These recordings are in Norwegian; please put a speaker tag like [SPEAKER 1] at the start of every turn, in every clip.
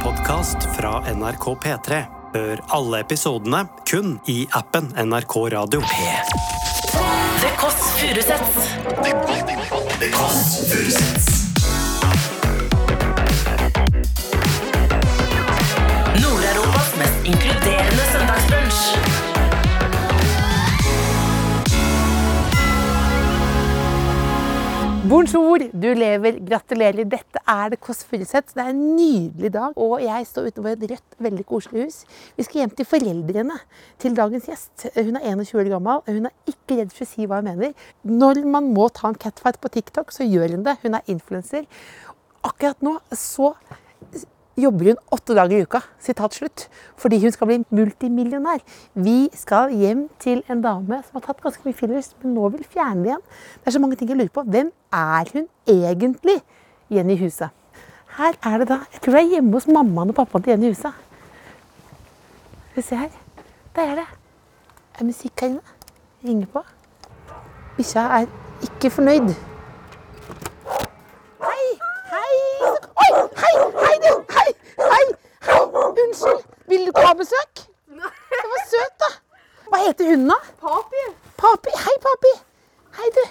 [SPEAKER 1] podkast fra NRK P3. Hør alle episodene kun i appen NRK Radio.
[SPEAKER 2] The Kåss Furuseths. Nord-Europas mest inkluderende søndagsbrunsch.
[SPEAKER 3] Bonjour, du lever, gratulerer. Dette er det Kåss Furuseth. Det er en nydelig dag, og jeg står utenfor et rødt, veldig koselig hus. Vi skal hjem til foreldrene til dagens gjest. Hun er 21 år gammel. Hun er ikke redd for å si hva hun mener. Når man må ta en catfight på TikTok, så gjør hun det. Hun er influenser. Akkurat nå så jobber hun åtte dager i uka, sitat slutt, fordi hun skal bli multimillionær. Vi skal hjem til en dame som har tatt ganske mye fillers, men nå vil fjerne det igjen. Det er så mange ting jeg lurer på. Hvem er hun egentlig, Jenny Huset? Her er det da, jeg tror det er hjemme hos mammaen og pappaen til Jenny Huset. Skal vi se her. Der er det. Er musikk her inne? Ringer på. Bikkja er ikke fornøyd. Hei! Hei! Oi! Hei! Hei, du! Hei! Hei! Hei! Unnskyld! Vil du ikke ha besøk? Det var søt, da. Hva heter hunden, da? Papi. Papi. Hei, papi. Hei, du.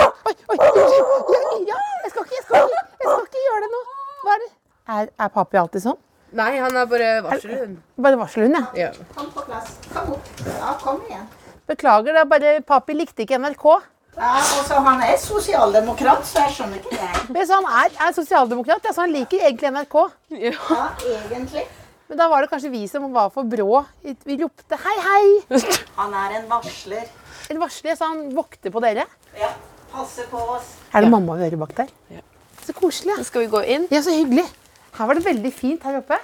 [SPEAKER 3] Oi, oi, unnskyld. Ja, ja. Jeg, skal ikke, jeg, skal ikke, jeg skal ikke gjøre deg noe. Hva er det? Er, er papi alltid sånn?
[SPEAKER 4] Nei, han er bare varselhund.
[SPEAKER 3] Bare varselhund, ja.
[SPEAKER 4] Ja.
[SPEAKER 5] Kom på plass. Kom opp. Ja, kom igjen.
[SPEAKER 3] Beklager, det er bare papi likte ikke NRK.
[SPEAKER 5] Ja, altså, han er sosialdemokrat, så jeg skjønner ikke det.
[SPEAKER 3] Men så han er, er sosialdemokrat, ja, så han liker egentlig NRK.
[SPEAKER 5] Ja, egentlig.
[SPEAKER 3] Men da var det kanskje vi som var for brå. Vi ropte hei, hei.
[SPEAKER 5] Han er en varsler.
[SPEAKER 3] En varsler, så han vokter på dere.
[SPEAKER 5] Ja, passer på oss.
[SPEAKER 3] Er det mamma vi hører bak der? Så koselig. Ja.
[SPEAKER 4] Skal vi gå inn?
[SPEAKER 3] ja, så hyggelig. Her var det veldig fint her oppe.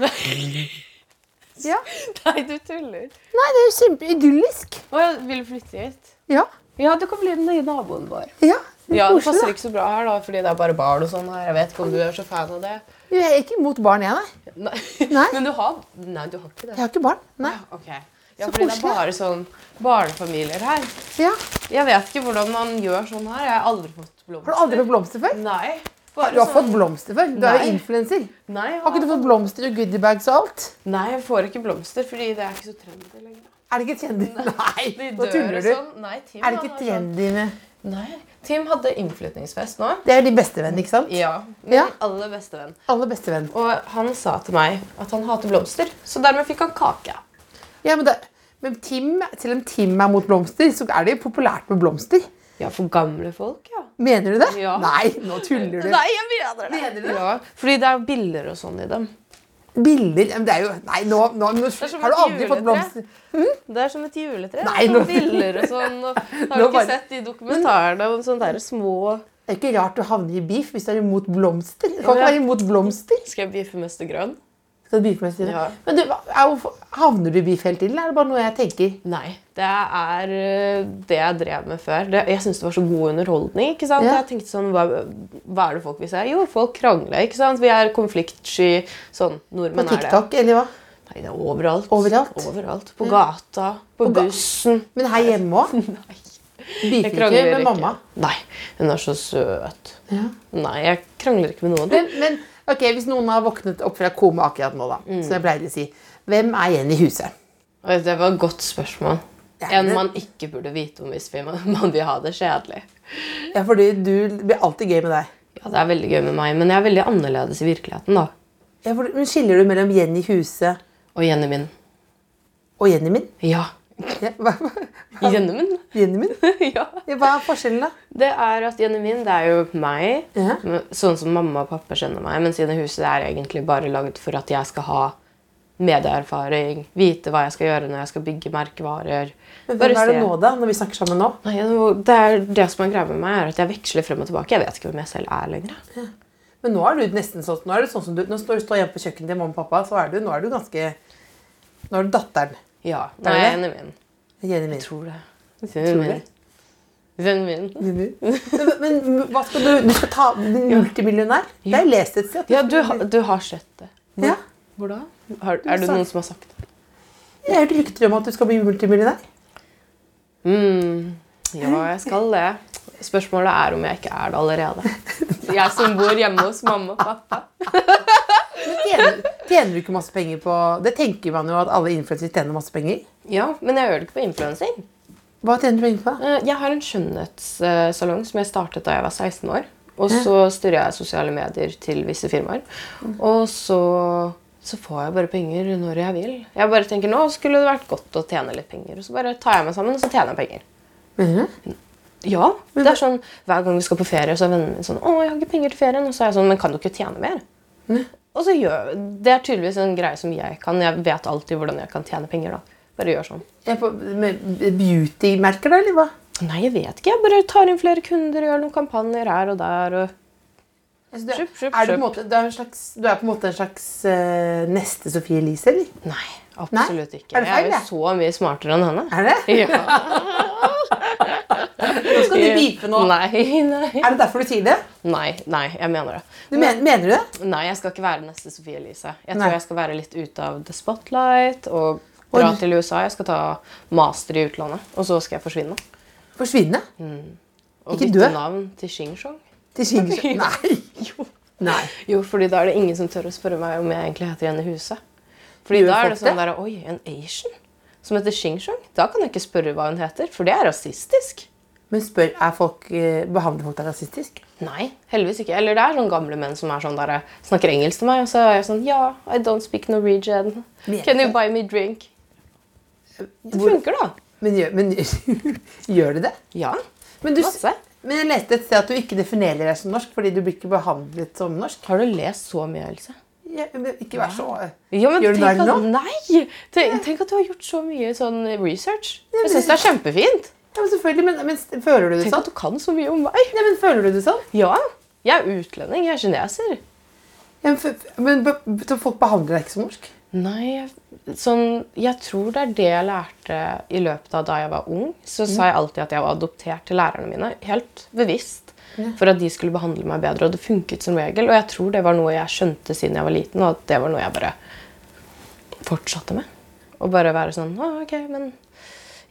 [SPEAKER 3] Ja.
[SPEAKER 4] Nei, du tuller.
[SPEAKER 3] Nei, det er jo kjempeidyllisk.
[SPEAKER 4] Å, jeg vil flytte hit.
[SPEAKER 3] Ja.
[SPEAKER 4] Ja, du kan bli den nye naboen vår.
[SPEAKER 3] Ja, det er
[SPEAKER 4] Ja, Det passer
[SPEAKER 3] koselig.
[SPEAKER 4] ikke så bra her, da, fordi det er bare barn og sånn her. Jeg vet ikke om du er så fan av det.
[SPEAKER 3] Da. Jeg er ikke imot barn, jeg, nei.
[SPEAKER 4] Nei.
[SPEAKER 3] Nei.
[SPEAKER 4] Men du har Nei, du har ikke
[SPEAKER 3] Jeg
[SPEAKER 4] det.
[SPEAKER 3] har ikke barn. Nei.
[SPEAKER 4] Ok. Ja,
[SPEAKER 3] Så
[SPEAKER 4] fordi det er
[SPEAKER 3] koselig.
[SPEAKER 4] bare sånn barnefamilier her.
[SPEAKER 3] Ja.
[SPEAKER 4] Jeg vet ikke hvordan man gjør sånn her. Jeg har aldri fått blomster.
[SPEAKER 3] Har du aldri fått blomster før?
[SPEAKER 4] Nei. Bare
[SPEAKER 3] Du har fått
[SPEAKER 4] sånn-
[SPEAKER 3] blomster før. Du er
[SPEAKER 4] Nei.
[SPEAKER 3] jo influenser.
[SPEAKER 4] Nei, jeg
[SPEAKER 3] Har ikke du fått blomster og goodiebags og alt?
[SPEAKER 4] Nei, jeg får ikke blomster, fordi det er ikke så trendy lenger.
[SPEAKER 3] Er det ikke trendy? Nei,
[SPEAKER 4] De
[SPEAKER 3] nå
[SPEAKER 4] dør og
[SPEAKER 3] tuller du.
[SPEAKER 4] Sånn. Nei,
[SPEAKER 3] Er
[SPEAKER 4] Tim,
[SPEAKER 3] det
[SPEAKER 4] han
[SPEAKER 3] ikke
[SPEAKER 4] er sånn-
[SPEAKER 3] trendy med
[SPEAKER 4] Nei. Tim hadde innflytningsfest nå.
[SPEAKER 3] Det er de bestevennene, ikke sant?
[SPEAKER 4] Ja. Min
[SPEAKER 3] Ja.
[SPEAKER 4] aller beste venn.
[SPEAKER 3] Alle bestevenn.
[SPEAKER 4] Og han sa til meg at han hater blomster, så dermed fikk han kake.
[SPEAKER 3] Ja, men, det, men Tim, selv om Tim er mot blomster, så er det jo populært med blomster.
[SPEAKER 4] Ja, for gamle folk, ja.
[SPEAKER 3] Mener du det?
[SPEAKER 4] Ja.
[SPEAKER 3] Nei, nå tuller du.
[SPEAKER 4] Nei, jeg mener det. Ja, fordi det er bilder og sånn i dem.
[SPEAKER 3] Bilder men Det er jo Nei, nå, nå, nå
[SPEAKER 4] er som
[SPEAKER 3] Har du
[SPEAKER 4] et
[SPEAKER 3] aldri fått
[SPEAKER 4] juletre.
[SPEAKER 3] blomster? Hm?
[SPEAKER 4] Det er som et juletre.
[SPEAKER 3] Nei,
[SPEAKER 4] det er
[SPEAKER 3] nå-
[SPEAKER 4] sånn Bilder og sånn. Og har du
[SPEAKER 3] Nå
[SPEAKER 4] ikke
[SPEAKER 3] bare-
[SPEAKER 4] sett de dokumentarene om sånne der små
[SPEAKER 3] Det er ikke rart du havner i beef hvis du er imot blomster. Du kan ikke være imot blomster.
[SPEAKER 4] Skal jeg biffe Mester Grønn?
[SPEAKER 3] Skal du beefe med sine?
[SPEAKER 4] Ja.
[SPEAKER 3] Men du, hva- er, jo- havner du i beef hele tiden, eller er det bare noe jeg tenker?
[SPEAKER 4] Nei. Det er eh, det jeg drev med før. Det, jeg syntes det var så god underholdning. ikke sant?
[SPEAKER 3] Ja.
[SPEAKER 4] Jeg tenkte sånn, hva, hva er det folk vil se? Jo, folk krangler. ikke sant? Vi er konfliktsky sånn.
[SPEAKER 3] På
[SPEAKER 4] Nordmenn er det.
[SPEAKER 3] TikTok, eller hva?
[SPEAKER 4] Nei, det er overalt.
[SPEAKER 3] Overalt?
[SPEAKER 4] Overalt. På gata, på,
[SPEAKER 3] ga-
[SPEAKER 4] bussen.
[SPEAKER 3] Men her hjemme òg?
[SPEAKER 4] Nei,
[SPEAKER 3] Beefer ikke med mamma?
[SPEAKER 4] Nei, hun er så søt.
[SPEAKER 3] Ja.
[SPEAKER 4] Nei, jeg krangler ikke med noen.
[SPEAKER 3] Men, men ok, hvis noen har våknet opp fra koma akkurat nå, da,
[SPEAKER 4] Mm.
[SPEAKER 3] som jeg pleier å si, hvem er Jenny Husøy?
[SPEAKER 4] Oi, Det var et godt spørsmål.
[SPEAKER 3] Ja,
[SPEAKER 4] En
[SPEAKER 3] det-
[SPEAKER 4] man ikke burde vite om hvis vi- man vil ha det kjedelig.
[SPEAKER 3] Ja, fordi du det blir alltid gøy med deg.
[SPEAKER 4] Ja, Det er veldig gøy med meg, men jeg er veldig annerledes i virkeligheten. da.
[SPEAKER 3] Ja, for, men skiller du mellom Jenny Huse
[SPEAKER 4] Og Jenny min.
[SPEAKER 3] og Jenny min?
[SPEAKER 4] Ja.
[SPEAKER 3] Ja, hva, hva-
[SPEAKER 4] Jenny min?
[SPEAKER 3] Jenny min?
[SPEAKER 4] ja.
[SPEAKER 3] Ja, Hva er forskjellen, da?
[SPEAKER 4] Det er at Jenny min, det er jo meg.
[SPEAKER 3] Ja.
[SPEAKER 4] men- Sånn som mamma og pappa kjenner meg. Mens Jenny Huset er egentlig bare lagd for at jeg skal ha medieerfaring. Vite hva jeg skal gjøre når jeg skal bygge merkevarer.
[SPEAKER 3] Men
[SPEAKER 4] Bare
[SPEAKER 3] Hvem er det
[SPEAKER 4] se.
[SPEAKER 3] nå, da? Når vi snakker sammen nå?
[SPEAKER 4] Nei, det er det som er greia med meg, er at jeg veksler frem og tilbake. Jeg vet ikke hvem jeg selv er lenger.
[SPEAKER 3] Men nå er du nesten sånn, nå er du sånn som du Nå står du står hjemme på kjøkkenet til mamma og pappa, så er du, nå er du ganske Nå er du datteren.
[SPEAKER 4] Ja,
[SPEAKER 3] Er
[SPEAKER 4] nei,
[SPEAKER 3] det?
[SPEAKER 4] Jenny min.
[SPEAKER 3] Jenny min.
[SPEAKER 4] Tror det. Jenny
[SPEAKER 3] du
[SPEAKER 4] min.
[SPEAKER 3] det?
[SPEAKER 4] Jenny min.
[SPEAKER 3] Jenny. Men, men hva skal du Du skal ta multimillionær? Det har jeg lest et sted.
[SPEAKER 4] Ja, du, har- du har sett det.
[SPEAKER 3] ja.
[SPEAKER 4] Hvor da? Har,
[SPEAKER 3] har
[SPEAKER 4] er det
[SPEAKER 3] sagt-
[SPEAKER 4] noen som har sagt det?
[SPEAKER 3] Jeg hørte rykter om at du skal bli multimillionær.
[SPEAKER 4] Mm, ja, jeg skal det. Spørsmålet er om jeg ikke er det allerede. Jeg som bor hjemme hos mamma og pappa.
[SPEAKER 3] Men Tjener, Tjener du ikke masse penger på Det tenker man jo at alle influensere tjener masse penger.
[SPEAKER 4] Ja, men jeg gjør det ikke på influensing.
[SPEAKER 3] Hva tjener du penger på?
[SPEAKER 4] Eh, Jeg har en skjønnhetssalong som jeg startet da jeg var 16 år. Og så styrer jeg sosiale medier til visse firmaer. Og så, så får jeg bare penger når jeg vil. Jeg bare tenker nå skulle det vært godt å tjene litt penger. Og så bare tar jeg meg sammen, og så tjener jeg penger. Ja, det er sånn, Hver gang vi skal på ferie, så er vennen min sånn 'Å, jeg har ikke penger til ferien.' Og så er jeg sånn 'Men kan du ikke tjene mer?' Og så gjør, Det er tydeligvis en greie som jeg kan. Jeg vet alltid hvordan jeg kan tjene penger. da. Bare gjør sånn.
[SPEAKER 3] Jeg får- med Beautymerker, da, eller hva?
[SPEAKER 4] Nei, jeg vet ikke. Jeg bare tar inn flere kunder og gjør noen kampanjer her og der. Og...
[SPEAKER 3] Altså, du, er,
[SPEAKER 4] Kjøp, kjøp,
[SPEAKER 3] er du, på en
[SPEAKER 4] kjøp.
[SPEAKER 3] måte, du, er en slags, du er på en måte en slags eh, neste Sophie Elise, eller?
[SPEAKER 4] Nei, absolutt
[SPEAKER 3] Nei?
[SPEAKER 4] ikke.
[SPEAKER 3] Er det feil,
[SPEAKER 4] jeg er
[SPEAKER 3] det?
[SPEAKER 4] jo så mye smartere enn henne.
[SPEAKER 3] Er det?
[SPEAKER 4] Ja.
[SPEAKER 3] Nå skal du bipe nå.
[SPEAKER 4] Nei, nei.
[SPEAKER 3] Er det derfor du sier det?
[SPEAKER 4] Nei, nei, jeg mener det.
[SPEAKER 3] Du mener, mener du det?
[SPEAKER 4] Nei, jeg skal ikke være neste Sofie Elise. Jeg
[SPEAKER 3] Nei.
[SPEAKER 4] tror jeg skal være litt ute av the spotlight og dra
[SPEAKER 3] Oi.
[SPEAKER 4] til USA. Jeg skal ta master i utlandet, og så skal jeg forsvinne.
[SPEAKER 3] Forsvinne?
[SPEAKER 4] Og
[SPEAKER 3] Ikke
[SPEAKER 4] bytte
[SPEAKER 3] dø.
[SPEAKER 4] navn til Xing Shong.
[SPEAKER 3] Til Kingersø? Nei.
[SPEAKER 4] Jo.
[SPEAKER 3] Nei.
[SPEAKER 4] Jo, fordi da er det ingen som tør å spørre meg om jeg egentlig heter Jenny Huse. Fordi
[SPEAKER 3] Gjør
[SPEAKER 4] da er det
[SPEAKER 3] folk
[SPEAKER 4] sånn der, Oi, en Asian som heter Xing Shong? Da kan jeg ikke spørre hva hun heter, for det er rasistisk.
[SPEAKER 3] Men spør, er folk, eh, behandler folk deg rasistisk?
[SPEAKER 4] Nei, heldigvis ikke. Eller det er sånne gamle menn som er sånn der, snakker engelsk til meg, og så er jeg sånn Ja, I don't speak Norwegian.
[SPEAKER 3] Mener
[SPEAKER 4] Can you
[SPEAKER 3] du?
[SPEAKER 4] buy me drink? Det
[SPEAKER 3] Hvor-
[SPEAKER 4] funker, da.
[SPEAKER 3] Men gjør, men, gjør du det?
[SPEAKER 4] Ja.
[SPEAKER 3] Men, du,
[SPEAKER 4] Masse.
[SPEAKER 3] men jeg leste et sted at du ikke definerer deg som norsk fordi du blir ikke behandlet som norsk.
[SPEAKER 4] Har du lest så mye, Else?
[SPEAKER 3] Ja, men ikke vær så eh,
[SPEAKER 4] Ja, men
[SPEAKER 3] Gjør du
[SPEAKER 4] tenk
[SPEAKER 3] narr
[SPEAKER 4] at,
[SPEAKER 3] nå?
[SPEAKER 4] nei! Tenk, tenk at du har gjort så mye sånn research.
[SPEAKER 3] men-
[SPEAKER 4] Jeg syns det er kjempefint.
[SPEAKER 3] Ja, men selvfølgelig, men, men føler du det
[SPEAKER 4] Tenk
[SPEAKER 3] sånn?
[SPEAKER 4] at du kan så mye om meg.
[SPEAKER 3] Nei, men føler du det sånn?
[SPEAKER 4] Ja, jeg er utlending. Jeg er kineser.
[SPEAKER 3] Ja, Men, f- men be- så folk behandler deg ikke som norsk?
[SPEAKER 4] Nei, jeg- sånn, jeg tror det er det jeg lærte i løpet av da jeg var ung. Så sa jeg alltid at jeg var adoptert til lærerne mine, helt bevisst. For at de skulle behandle meg bedre, og det funket som regel. Og jeg tror det var noe jeg skjønte siden jeg var liten, og at det var noe jeg bare fortsatte med. Og bare være sånn ah, OK, men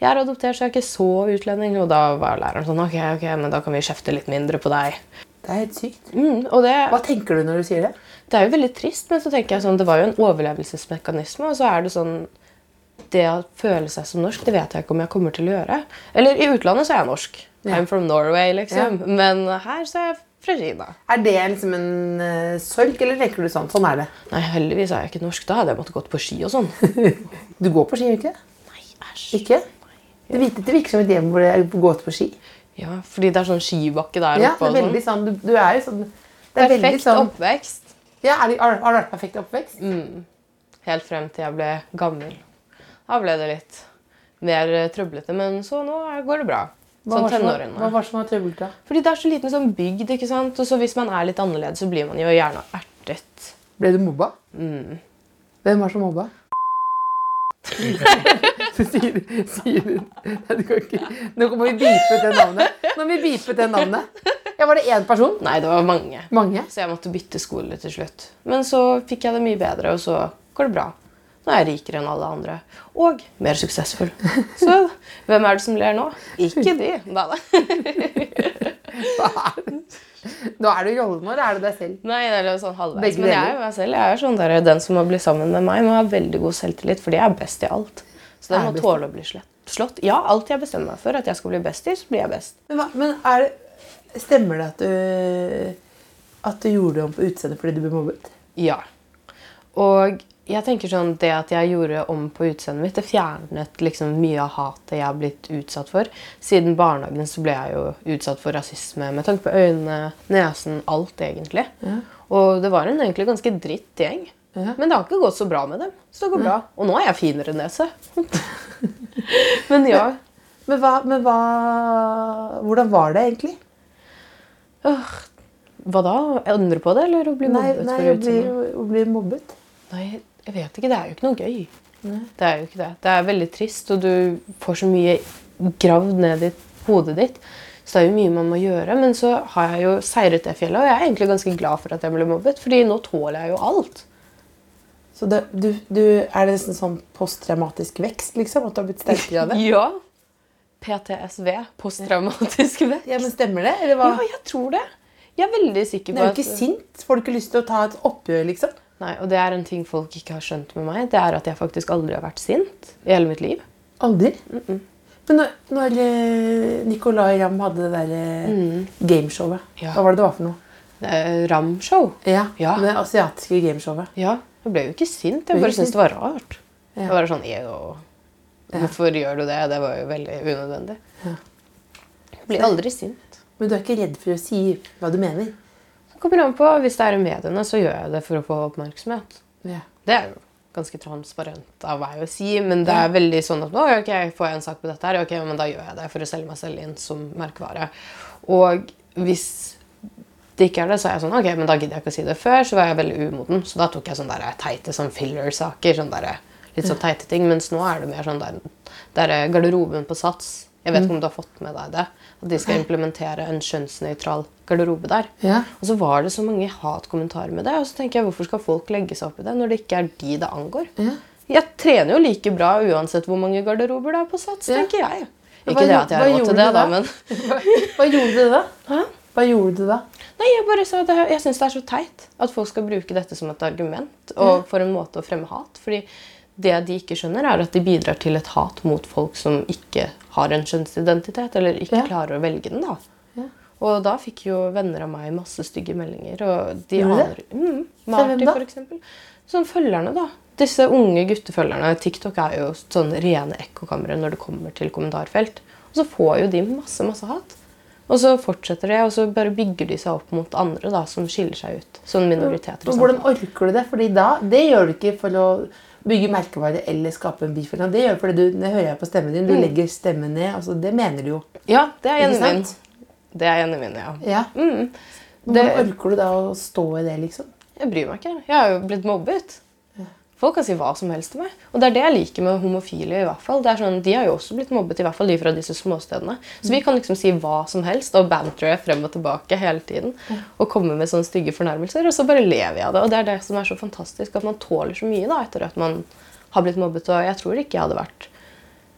[SPEAKER 4] jeg er adoptert, så jeg er ikke så utlending. Og da var læreren sånn OK, ok, men da kan vi kjefte litt mindre på deg.
[SPEAKER 3] Det er helt sykt.
[SPEAKER 4] Mm, og det,
[SPEAKER 3] Hva tenker du når du sier det?
[SPEAKER 4] det er jo veldig trist, men så tenker jeg sånn, det var jo en overlevelsesmekanisme. Og så er det sånn Det å føle seg som norsk, det vet jeg ikke om jeg kommer til å gjøre. Eller i utlandet så er jeg norsk.
[SPEAKER 3] Ja.
[SPEAKER 4] I'm from Norway, liksom. Men her så er jeg fra Kina.
[SPEAKER 3] Er det liksom en eh, sorg, eller tenker du sånn? Sånn er det.
[SPEAKER 4] Nei, heldigvis er jeg ikke norsk. Da hadde jeg måttet gått på ski og sånn.
[SPEAKER 3] Du går på ski, gjør du ikke? det?
[SPEAKER 4] Nei, æsj.
[SPEAKER 3] Ikke? Det virker, det virker som et hjem hvor det er gått på ski.
[SPEAKER 4] Ja, fordi det er sånn skibakke der
[SPEAKER 3] Ja, det er
[SPEAKER 4] oppe og sånn.
[SPEAKER 3] veldig sånn, du, du er jo sånn det er veldig
[SPEAKER 4] Perfekt
[SPEAKER 3] sånn,
[SPEAKER 4] oppvekst.
[SPEAKER 3] Ja, er det, har har det vært perfekt oppvekst?
[SPEAKER 4] Helt frem til jeg ble gammel. Da ble det litt mer eh, trøblete, men så nå er- går det bra.
[SPEAKER 3] Hva
[SPEAKER 4] Sånn
[SPEAKER 3] var som var-
[SPEAKER 4] tenårene.
[SPEAKER 3] hva var som var trøbbelt da?
[SPEAKER 4] Fordi det er så liten sånn bygd, ikke sant? Og så hvis man er litt annerledes, så blir man jo gjerne ertet.
[SPEAKER 3] Ble du mobba? Mm. Hvem var som mobba? Så sier, sier du Nei, du kan ikke Nå må vi bipe ut det navnet. Nå må vi bipe ut det navnet. Ja, var det én person?
[SPEAKER 4] Nei, det var mange.
[SPEAKER 3] Mange?
[SPEAKER 4] Så jeg måtte bytte skole til slutt. Men så fikk jeg det mye bedre, og så går det bra. Nå er jeg rikere enn alle andre. Og mer suksessfull. Så hvem er det som ler nå? Ikke de. Nei, nei.
[SPEAKER 3] Nå er du i rollen vår, er du deg selv?
[SPEAKER 4] nei det er jo sånn halvveis.
[SPEAKER 3] Begge
[SPEAKER 4] Men jeg
[SPEAKER 3] deler.
[SPEAKER 4] er jo meg selv. Jeg er sånn der, den som må bli sammen med meg, må ha veldig god selvtillit, fordi jeg er best i alt. Så den
[SPEAKER 3] Er
[SPEAKER 4] må
[SPEAKER 3] best.
[SPEAKER 4] tåle å bli slett. slått. Ja, alt jeg bestemmer meg for at jeg skal bli best i, så blir jeg best.
[SPEAKER 3] Men, hva- men er det, stemmer det at du, at du gjorde det om på utseendet fordi du ble mobbet?
[SPEAKER 4] Ja. Og jeg tenker sånn, det at jeg gjorde om på utseendet mitt, det fjernet liksom mye av hatet jeg har blitt utsatt for. Siden barnehagen så ble jeg jo utsatt for rasisme med tanke på øynene, nesen, alt egentlig. Og det var en egentlig ganske dritt gjeng. Men det har ikke gått så bra med dem. Så det går bra. Og nå er jeg finere nese. Men ja.
[SPEAKER 3] Men, hva, men hva, hvordan var det egentlig?
[SPEAKER 4] Øh, hva da? Endre på det, eller å bli
[SPEAKER 3] Nei,
[SPEAKER 4] mobbet
[SPEAKER 3] nei
[SPEAKER 4] for
[SPEAKER 3] å, bli,
[SPEAKER 4] utseendet?
[SPEAKER 3] å bli mobbet.
[SPEAKER 4] Nei, jeg vet ikke. Det er jo ikke noe gøy. Det er jo ikke det. Det er veldig trist, og du får så mye gravd ned i hodet ditt. Så det er jo mye man må gjøre, men så har jeg jo seiret det fjellet, og jeg er egentlig ganske glad for at jeg ble mobbet, fordi nå tåler jeg jo alt.
[SPEAKER 3] Så det, du, du, er det nesten sånn posttraumatisk vekst, liksom? At du har blitt sterkere av det?
[SPEAKER 4] Ja. PTSV, posttraumatisk vekk.
[SPEAKER 3] Ja, men Stemmer det? Eller hva?
[SPEAKER 4] Ja, jeg tror det. Jeg er veldig sikker
[SPEAKER 3] Men
[SPEAKER 4] på
[SPEAKER 3] er
[SPEAKER 4] at
[SPEAKER 3] du ikke sint? Får du ikke lyst til å ta et oppgjør, liksom?
[SPEAKER 4] Nei, og det er en ting folk ikke har skjønt med meg. Det er at jeg faktisk aldri har vært sint i hele mitt liv.
[SPEAKER 3] Aldri? Men når, når eh, Nicolay Ramm hadde det der eh, gameshowet,
[SPEAKER 4] Mm. Ja.
[SPEAKER 3] hva var det det var for noe?
[SPEAKER 4] Eh, Ram-show.
[SPEAKER 3] Ja,
[SPEAKER 4] Ja.
[SPEAKER 3] Det asiatiske gameshowet.
[SPEAKER 4] Ja, jeg ble jo ikke sint.
[SPEAKER 3] Ble
[SPEAKER 4] Jeg bare
[SPEAKER 3] ikke
[SPEAKER 4] syntes
[SPEAKER 3] sint?
[SPEAKER 4] det var rart.
[SPEAKER 3] Ja.
[SPEAKER 4] Jeg var sånn «Ew, Hvorfor gjør du det? Det var jo veldig unødvendig. Jeg blir aldri sint.
[SPEAKER 3] Men du er ikke redd for å si hva du mener?
[SPEAKER 4] Det kommer an på. Hvis det er i mediene, så gjør jeg det for å få oppmerksomhet.
[SPEAKER 3] Ja.
[SPEAKER 4] Det er jo ganske transparent av meg å si, men det er veldig sånn at nå ok, får jeg en sak på dette her, ok, men da gjør jeg det for å selge meg selv inn som merkevare. Og hvis det ikke er det, så er jeg sånn, ok, men da gidder jeg ikke å si det før, så var jeg veldig umoden, så da tok jeg sånne der teite sånn filler-saker, sånn der, litt sånn teite ting, mens nå er det mer sånn der, der er garderoben på sats. Jeg vet ikke om du har fått med deg det, at de skal implementere en kjønnsnøytral garderobe der.
[SPEAKER 3] Ja.
[SPEAKER 4] Og så var det så mange hatkommentarer med det. Og så tenker jeg, hvorfor skal folk legge seg opp i det når det ikke er de det angår?
[SPEAKER 3] Ja.
[SPEAKER 4] Jeg trener jo like bra uansett hvor mange garderober det er på sats,
[SPEAKER 3] Ja.
[SPEAKER 4] tenker jeg.
[SPEAKER 3] Men
[SPEAKER 4] Ikke
[SPEAKER 3] hva
[SPEAKER 4] det
[SPEAKER 3] gjo-
[SPEAKER 4] at jeg
[SPEAKER 3] hva
[SPEAKER 4] har råd
[SPEAKER 3] gjorde
[SPEAKER 4] til det,
[SPEAKER 3] du
[SPEAKER 4] da,
[SPEAKER 3] da?
[SPEAKER 4] men
[SPEAKER 3] Hva gjorde du da?
[SPEAKER 4] Hæ?
[SPEAKER 3] Hva gjorde du da?
[SPEAKER 4] Nei, jeg bare sa at det her- jeg syns det er så teit at folk skal bruke dette som et argument og for en måte å fremme hat. Fordi det de ikke skjønner, er at de bidrar til et hat mot folk som ikke har en kjønnsidentitet, eller ikke
[SPEAKER 3] Ja.
[SPEAKER 4] klarer å velge den, da.
[SPEAKER 3] Ja.
[SPEAKER 4] Og da fikk jo venner av meg masse stygge meldinger, og de
[SPEAKER 3] Gjorde
[SPEAKER 4] aner
[SPEAKER 3] det?
[SPEAKER 4] mm,
[SPEAKER 3] Fra hvem
[SPEAKER 4] Marty,
[SPEAKER 3] da?
[SPEAKER 4] for eksempel. Sånn følgerne, da. Disse unge guttefølgerne. TikTok er jo sånn rene ekkokamre når det kommer til kommentarfelt. Og så får jo de masse, masse hat. Og så fortsetter det, og så bare bygger de seg opp mot andre da, som skiller seg ut. Sånn minoriteter. i
[SPEAKER 3] Og hvordan
[SPEAKER 4] samfunnet.
[SPEAKER 3] orker du det? Fordi da, Det gjør du ikke for å bygge merkevare eller skape en beef. eller noe. Det gjør du fordi du, det hører jeg på stemmen din. Du
[SPEAKER 4] Mm.
[SPEAKER 3] legger stemmen ned. altså Det mener du jo.
[SPEAKER 4] Ja, det er
[SPEAKER 3] Ikke
[SPEAKER 4] gjennom min.
[SPEAKER 3] sant?
[SPEAKER 4] Det er gjennom min, ja.
[SPEAKER 3] Ja.
[SPEAKER 4] Mm.
[SPEAKER 3] Men
[SPEAKER 4] Det-
[SPEAKER 3] Hvordan orker du da å stå i det, liksom?
[SPEAKER 4] Jeg bryr meg ikke. Jeg har jo blitt mobbet. Folk kan si hva som helst til meg. Og det er det jeg liker med homofile. i hvert fall. Det er sånn, De har jo også blitt mobbet, i hvert fall de fra disse småstedene. Så vi kan liksom si hva som helst og bantere frem og tilbake hele tiden. Og komme med sånne stygge fornærmelser, og så bare lever jeg av det. Og det er det som er så fantastisk, at man tåler så mye da, etter at man har blitt mobbet. Og jeg tror ikke jeg hadde vært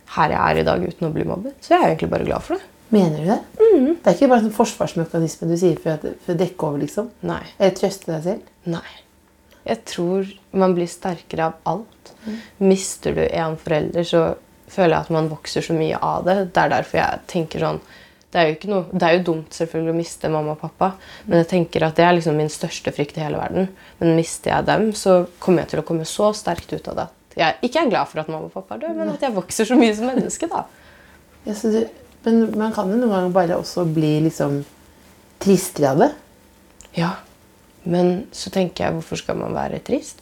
[SPEAKER 4] her jeg er i dag uten å bli mobbet. Så jeg er egentlig bare glad for det.
[SPEAKER 3] Mener du det?
[SPEAKER 4] Mm.
[SPEAKER 3] Det er ikke bare en sånn forsvarsmekanisme du sier for, at, for å dekke over, liksom?
[SPEAKER 4] Nei.
[SPEAKER 3] Eller trøste deg selv?
[SPEAKER 4] Nei. Jeg tror man blir sterkere av alt. Mister du en forelder, så føler jeg at man vokser så mye av det. Det er derfor jeg tenker sånn Det er jo, ikke noe, det er jo dumt selvfølgelig å miste mamma og pappa, men jeg tenker at det er liksom min største frykt i hele verden. Men mister jeg dem, så kommer jeg til å komme så sterkt ut av det at jeg ikke er glad for at mamma og pappa er døde, men at jeg vokser så mye som menneske, da.
[SPEAKER 3] Ja, så du, men man kan jo noen ganger bare også bli liksom tristere av det.
[SPEAKER 4] Ja. Men så tenker jeg, hvorfor skal man være trist?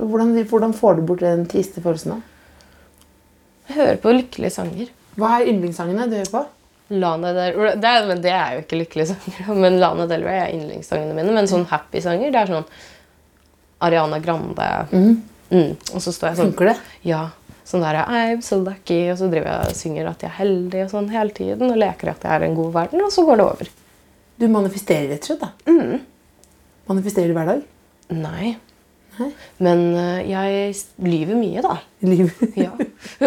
[SPEAKER 3] Hvordan, hvordan får du bort den triste følelsen da?
[SPEAKER 4] Jeg hører på lykkelige sanger.
[SPEAKER 3] Hva er yndlingssangene du hører på?
[SPEAKER 4] Lana Del Rey det, er- Men det er jo ikke lykkelige sanger, da, men Lana Del Rey er yndlingssangene mine. Men sånn happy-sanger, det er sånn Ariana Grande Mm. Og så står jeg sånn
[SPEAKER 3] Mhm. Funker det?
[SPEAKER 4] Ja. Sånn der I'm so lucky, og så driver jeg og synger at jeg er heldig og sånn hele tiden. Og leker at jeg er i en god verden, og så går det over.
[SPEAKER 3] Du manifesterer rett og slett, da. Manifesterer du hver dag?
[SPEAKER 4] Nei. Men eh, jeg s- lyver mye, da.
[SPEAKER 3] I livet?
[SPEAKER 4] Ja.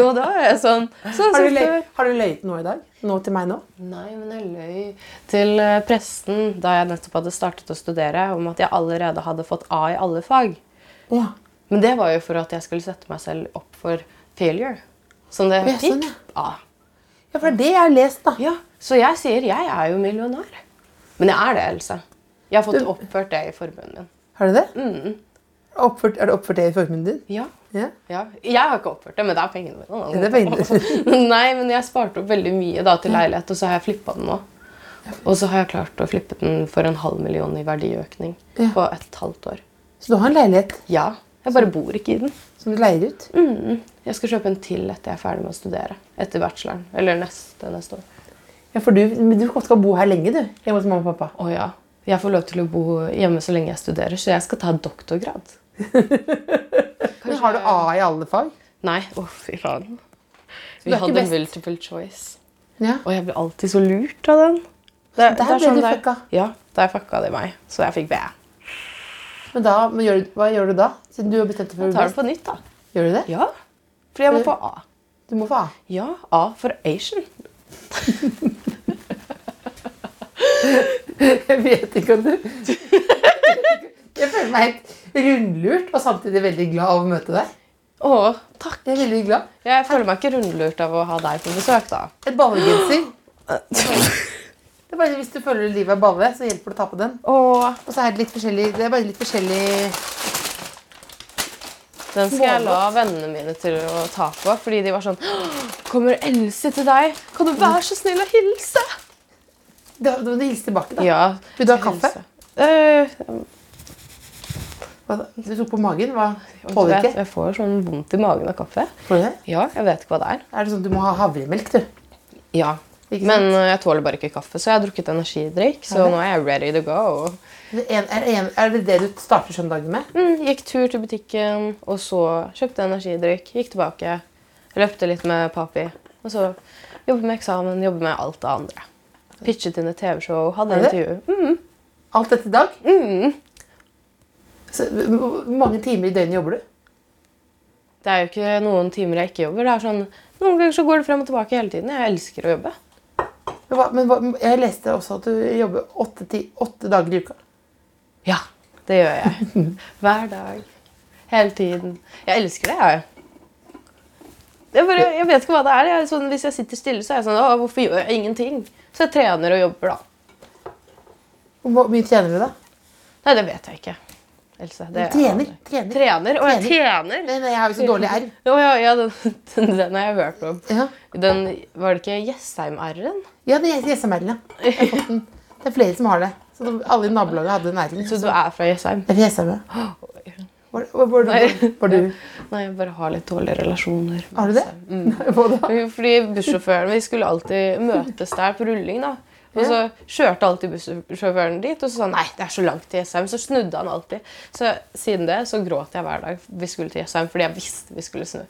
[SPEAKER 4] Og da er jeg sånn så,
[SPEAKER 3] Har du,
[SPEAKER 4] så-
[SPEAKER 3] løy, har du løyet nå i dag? Nå til meg nå?
[SPEAKER 4] Nei, men jeg løy til eh, presten da jeg nettopp hadde startet å studere, om at jeg allerede hadde fått A i alle fag.
[SPEAKER 3] Ja.
[SPEAKER 4] Men det var jo for at jeg skulle sette meg selv opp for failure. Som det
[SPEAKER 3] Ja, sånn,
[SPEAKER 4] fikk. A.
[SPEAKER 3] ja, for det er det jeg har lest, da.
[SPEAKER 4] Ja, Så jeg sier jeg er jo millionær. Men jeg er det, Else. Jeg har fått
[SPEAKER 3] Du-
[SPEAKER 4] oppført det i formuen min.
[SPEAKER 3] Har du det? Oppført, er du oppført det i formuen din?
[SPEAKER 4] Ja.
[SPEAKER 3] Ja.
[SPEAKER 4] Ja. Jeg har ikke oppført det, men det er pengene mine.
[SPEAKER 3] Ja,
[SPEAKER 4] da.
[SPEAKER 3] det er pengene
[SPEAKER 4] Nei, men jeg sparte opp veldig mye da, til leilighet, og så har jeg flippa den nå. Og så har jeg klart å flippe den for en halv million i verdiøkning
[SPEAKER 3] Ja.
[SPEAKER 4] på et halvt år.
[SPEAKER 3] Så du har en leilighet
[SPEAKER 4] Ja. Jeg bare bor ikke i den.
[SPEAKER 3] som du leier ut?
[SPEAKER 4] Jeg skal kjøpe en til etter jeg er ferdig med å studere. Etter bacheloren. Eller neste neste år.
[SPEAKER 3] Ja, for du, men du skal bo her lenge, du. Hjemme hos mamma og pappa.
[SPEAKER 4] Å ja. Jeg får lov til å bo hjemme så lenge jeg studerer, så jeg skal ta doktorgrad.
[SPEAKER 3] Men har du A i alle fag?
[SPEAKER 4] Nei, å fy faen.
[SPEAKER 3] du
[SPEAKER 4] Vi
[SPEAKER 3] er ikke
[SPEAKER 4] hadde
[SPEAKER 3] best?
[SPEAKER 4] multiple choice.
[SPEAKER 3] Ja.
[SPEAKER 4] Og jeg ble alltid så lurt av den. Det,
[SPEAKER 3] der ble du
[SPEAKER 4] det er-
[SPEAKER 3] fucka?
[SPEAKER 4] Ja, der fucka det meg. Så jeg fikk B.
[SPEAKER 3] Men, da, men gjør, du- hva gjør du da? Siden du har bestemt deg for å
[SPEAKER 4] Jeg tar det
[SPEAKER 3] bli
[SPEAKER 4] på nytt, da.
[SPEAKER 3] Gjør du det?
[SPEAKER 4] Ja. Fordi jeg må få A.
[SPEAKER 3] Du må få A.
[SPEAKER 4] Ja, A for Asian.
[SPEAKER 3] Jeg vet ikke om du Jeg Jeg føler meg helt rundlurt og samtidig veldig glad av å møte deg.
[SPEAKER 4] Å, takk.
[SPEAKER 3] Jeg er veldig glad.
[SPEAKER 4] Jeg føler meg ikke rundlurt av å ha deg på besøk, da.
[SPEAKER 3] Et ballegenser. Det er bare Hvis du føler livet er balle, så hjelper det å ta på den.
[SPEAKER 4] Å,
[SPEAKER 3] Og så er det litt forskjellig Det er bare litt forskjellig
[SPEAKER 4] den skal jeg la vennene mine til å ta på, fordi de var sånn «Åh, Kommer Else til deg? Kan du være så snill å hilse?
[SPEAKER 3] Da da må du hilse tilbake, da.
[SPEAKER 4] Ja.
[SPEAKER 3] Vil du ha kaffe?
[SPEAKER 4] hilse. Eh,
[SPEAKER 3] Hva da? Du tok på magen. Hva
[SPEAKER 4] jeg,
[SPEAKER 3] tåler
[SPEAKER 4] vet,
[SPEAKER 3] ikke?
[SPEAKER 4] jeg får sånn vondt i magen av kaffe.
[SPEAKER 3] Får du det?
[SPEAKER 4] Ja, jeg vet ikke hva det er.
[SPEAKER 3] Er det sånn at du må ha havremelk, du?
[SPEAKER 4] Ja.
[SPEAKER 3] Ikke sant?
[SPEAKER 4] Men eh, jeg tåler bare ikke kaffe, så jeg har drukket energidrikk. Så nå er jeg ready to go.
[SPEAKER 3] Det en- Er, en- er det det du starter søndagen med?
[SPEAKER 4] Mm, gikk tur til butikken, og så kjøpte energidrikk. Gikk tilbake. Løpte litt med papi. Og så jobbe med eksamen, jobbe med alt det andre. Pitchet inn et TV-show, hadde
[SPEAKER 3] Er det?
[SPEAKER 4] intervju. Mm,
[SPEAKER 3] Alt dette i dag? Så, hvor hvor mange timer i døgnet jobber du?
[SPEAKER 4] Det er jo ikke noen timer jeg ikke jobber. Det er sånn, Noen ganger så går det frem og tilbake hele tiden. Jeg elsker å jobbe.
[SPEAKER 3] Men, hva, men hva, jeg leste også at du jobber åtte, ti, åtte dager i uka.
[SPEAKER 4] Ja, det gjør jeg. Hver dag. Hele tiden. Jeg elsker det, jeg. Jeg, bare, jeg vet ikke hva det er. Jeg er sånn, hvis jeg sitter stille, så er jeg sånn Å, hvorfor gjør jeg ingenting? Så jeg trener og jobber, da.
[SPEAKER 3] Hvor mye tjener du, da?
[SPEAKER 4] Nei, det vet jeg ikke. Else, det
[SPEAKER 3] Du trener, trener.
[SPEAKER 4] Trener. Å, jeg trener?
[SPEAKER 3] Nei, nei, jeg har jo så dårlig R.
[SPEAKER 4] Å, ja, ja, den, den, den har jeg hørt om.
[SPEAKER 3] Ja,
[SPEAKER 4] Den, var det ikke Jessheim-r-en?
[SPEAKER 3] ja det er SML-en, ja. Jeg har fått den. Det er flere som har det. Så de- alle i nabolaget hadde den R-en.
[SPEAKER 4] Så du er fra Jessheim?
[SPEAKER 3] Jeg er SML. Var, var, var, du- var du
[SPEAKER 4] Nei, jeg bare har litt dårlige relasjoner. med
[SPEAKER 3] Har du det?
[SPEAKER 4] Jessheim.
[SPEAKER 3] Nei, hva da?
[SPEAKER 4] Jo, Fordi bussjåføren Vi skulle alltid møtes der på rulling, da. Og så kjørte alltid bussjåføren dit, og så sa han nei, det er så langt til Jessheim. Så snudde han alltid. Så siden det så gråt jeg hver dag vi skulle til Jessheim, fordi jeg visste vi skulle snu.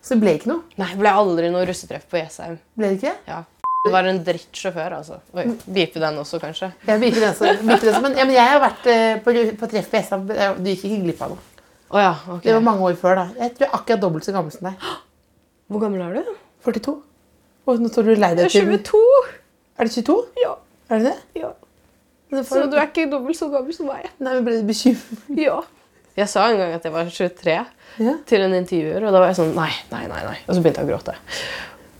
[SPEAKER 3] Så det ble ikke noe?
[SPEAKER 4] Nei, det ble aldri noe russetreff på Jessheim.
[SPEAKER 3] Ble det ikke?
[SPEAKER 4] Ja. Det var en drittsjåfør, altså. Oi, Vipe den også, kanskje.
[SPEAKER 3] Jeg begynte den så, begynte den så, men, ja, men jeg har vært eh, på, på treff på SML. eh, Du gikk ikke glipp av noe.
[SPEAKER 4] Å ja, ok.
[SPEAKER 3] Det var mange år før, da. Jeg tror jeg er akkurat dobbelt så gammel som deg.
[SPEAKER 4] Hvor gammel er du?
[SPEAKER 3] 42. Og nå står du lei deg
[SPEAKER 4] Jeg
[SPEAKER 3] til
[SPEAKER 4] er 22!
[SPEAKER 3] Er det 22?
[SPEAKER 4] Ja.
[SPEAKER 3] Er det det?
[SPEAKER 4] ja.
[SPEAKER 3] Men det
[SPEAKER 4] Så
[SPEAKER 3] får-
[SPEAKER 4] du er ikke dobbelt så gammel som meg.
[SPEAKER 3] Nei, men ble du bekymret?
[SPEAKER 4] Ja. Jeg sa en gang at jeg var 23
[SPEAKER 3] Ja.
[SPEAKER 4] til en intervjuer, og da var jeg sånn nei, nei, nei. nei. Og så begynte jeg å gråte.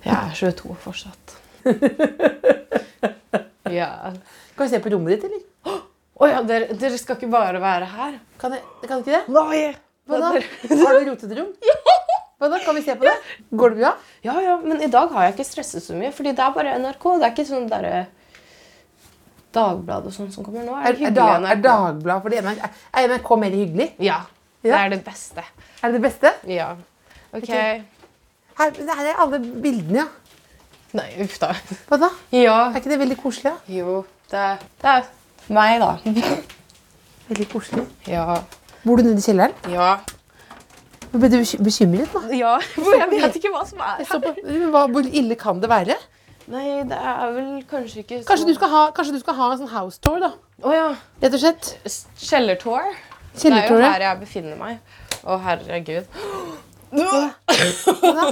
[SPEAKER 4] Jeg er 22 fortsatt. Ja.
[SPEAKER 3] Kan vi se på rommet ditt, eller?
[SPEAKER 4] Å ja, dere, dere skal ikke bare være her.
[SPEAKER 3] Kan, jeg, kan ikke det?
[SPEAKER 4] Nei!
[SPEAKER 3] Hva da? Har du rotete rom? Ja! Hva da? Kan vi se på det? Går det bra?
[SPEAKER 4] Ja, ja, men i dag har jeg ikke stresset så mye, fordi det er bare NRK. Det er ikke sånn derre Dagbladet og sånn som kommer nå. Er
[SPEAKER 3] Er,
[SPEAKER 4] det
[SPEAKER 3] er,
[SPEAKER 4] hyggelig
[SPEAKER 3] dag, er
[SPEAKER 4] NRK?
[SPEAKER 3] Dagbladet for det ene? Er, er NRK mer hyggelig?
[SPEAKER 4] Ja. Det
[SPEAKER 3] Ja.
[SPEAKER 4] er det beste.
[SPEAKER 3] Er det det beste?
[SPEAKER 4] Ja. OK.
[SPEAKER 3] Her, her er alle bildene, ja.
[SPEAKER 4] Nei, uff da.
[SPEAKER 3] Hva da?
[SPEAKER 4] Ja.
[SPEAKER 3] Er ikke det veldig koselig? da?
[SPEAKER 4] Jo, det er, det er meg, da.
[SPEAKER 3] Veldig koselig.
[SPEAKER 4] Ja.
[SPEAKER 3] Bor du nede i kjelleren?
[SPEAKER 4] Ja.
[SPEAKER 3] Nå Ble du beky- bekymret, da?
[SPEAKER 4] Ja, for jeg vet ikke hva som er
[SPEAKER 3] Jeg så på, men hva, hvor ille kan det være?
[SPEAKER 4] Nei, det er vel kanskje ikke så
[SPEAKER 3] Kanskje du skal ha, kanskje du skal ha en sånn house tour, da?
[SPEAKER 4] Å ja.
[SPEAKER 3] Rett og slett.
[SPEAKER 4] S- Kjellertour. Det er jo
[SPEAKER 3] Kjellertour.
[SPEAKER 4] her jeg befinner meg. Å, herregud. Det
[SPEAKER 3] Hva da?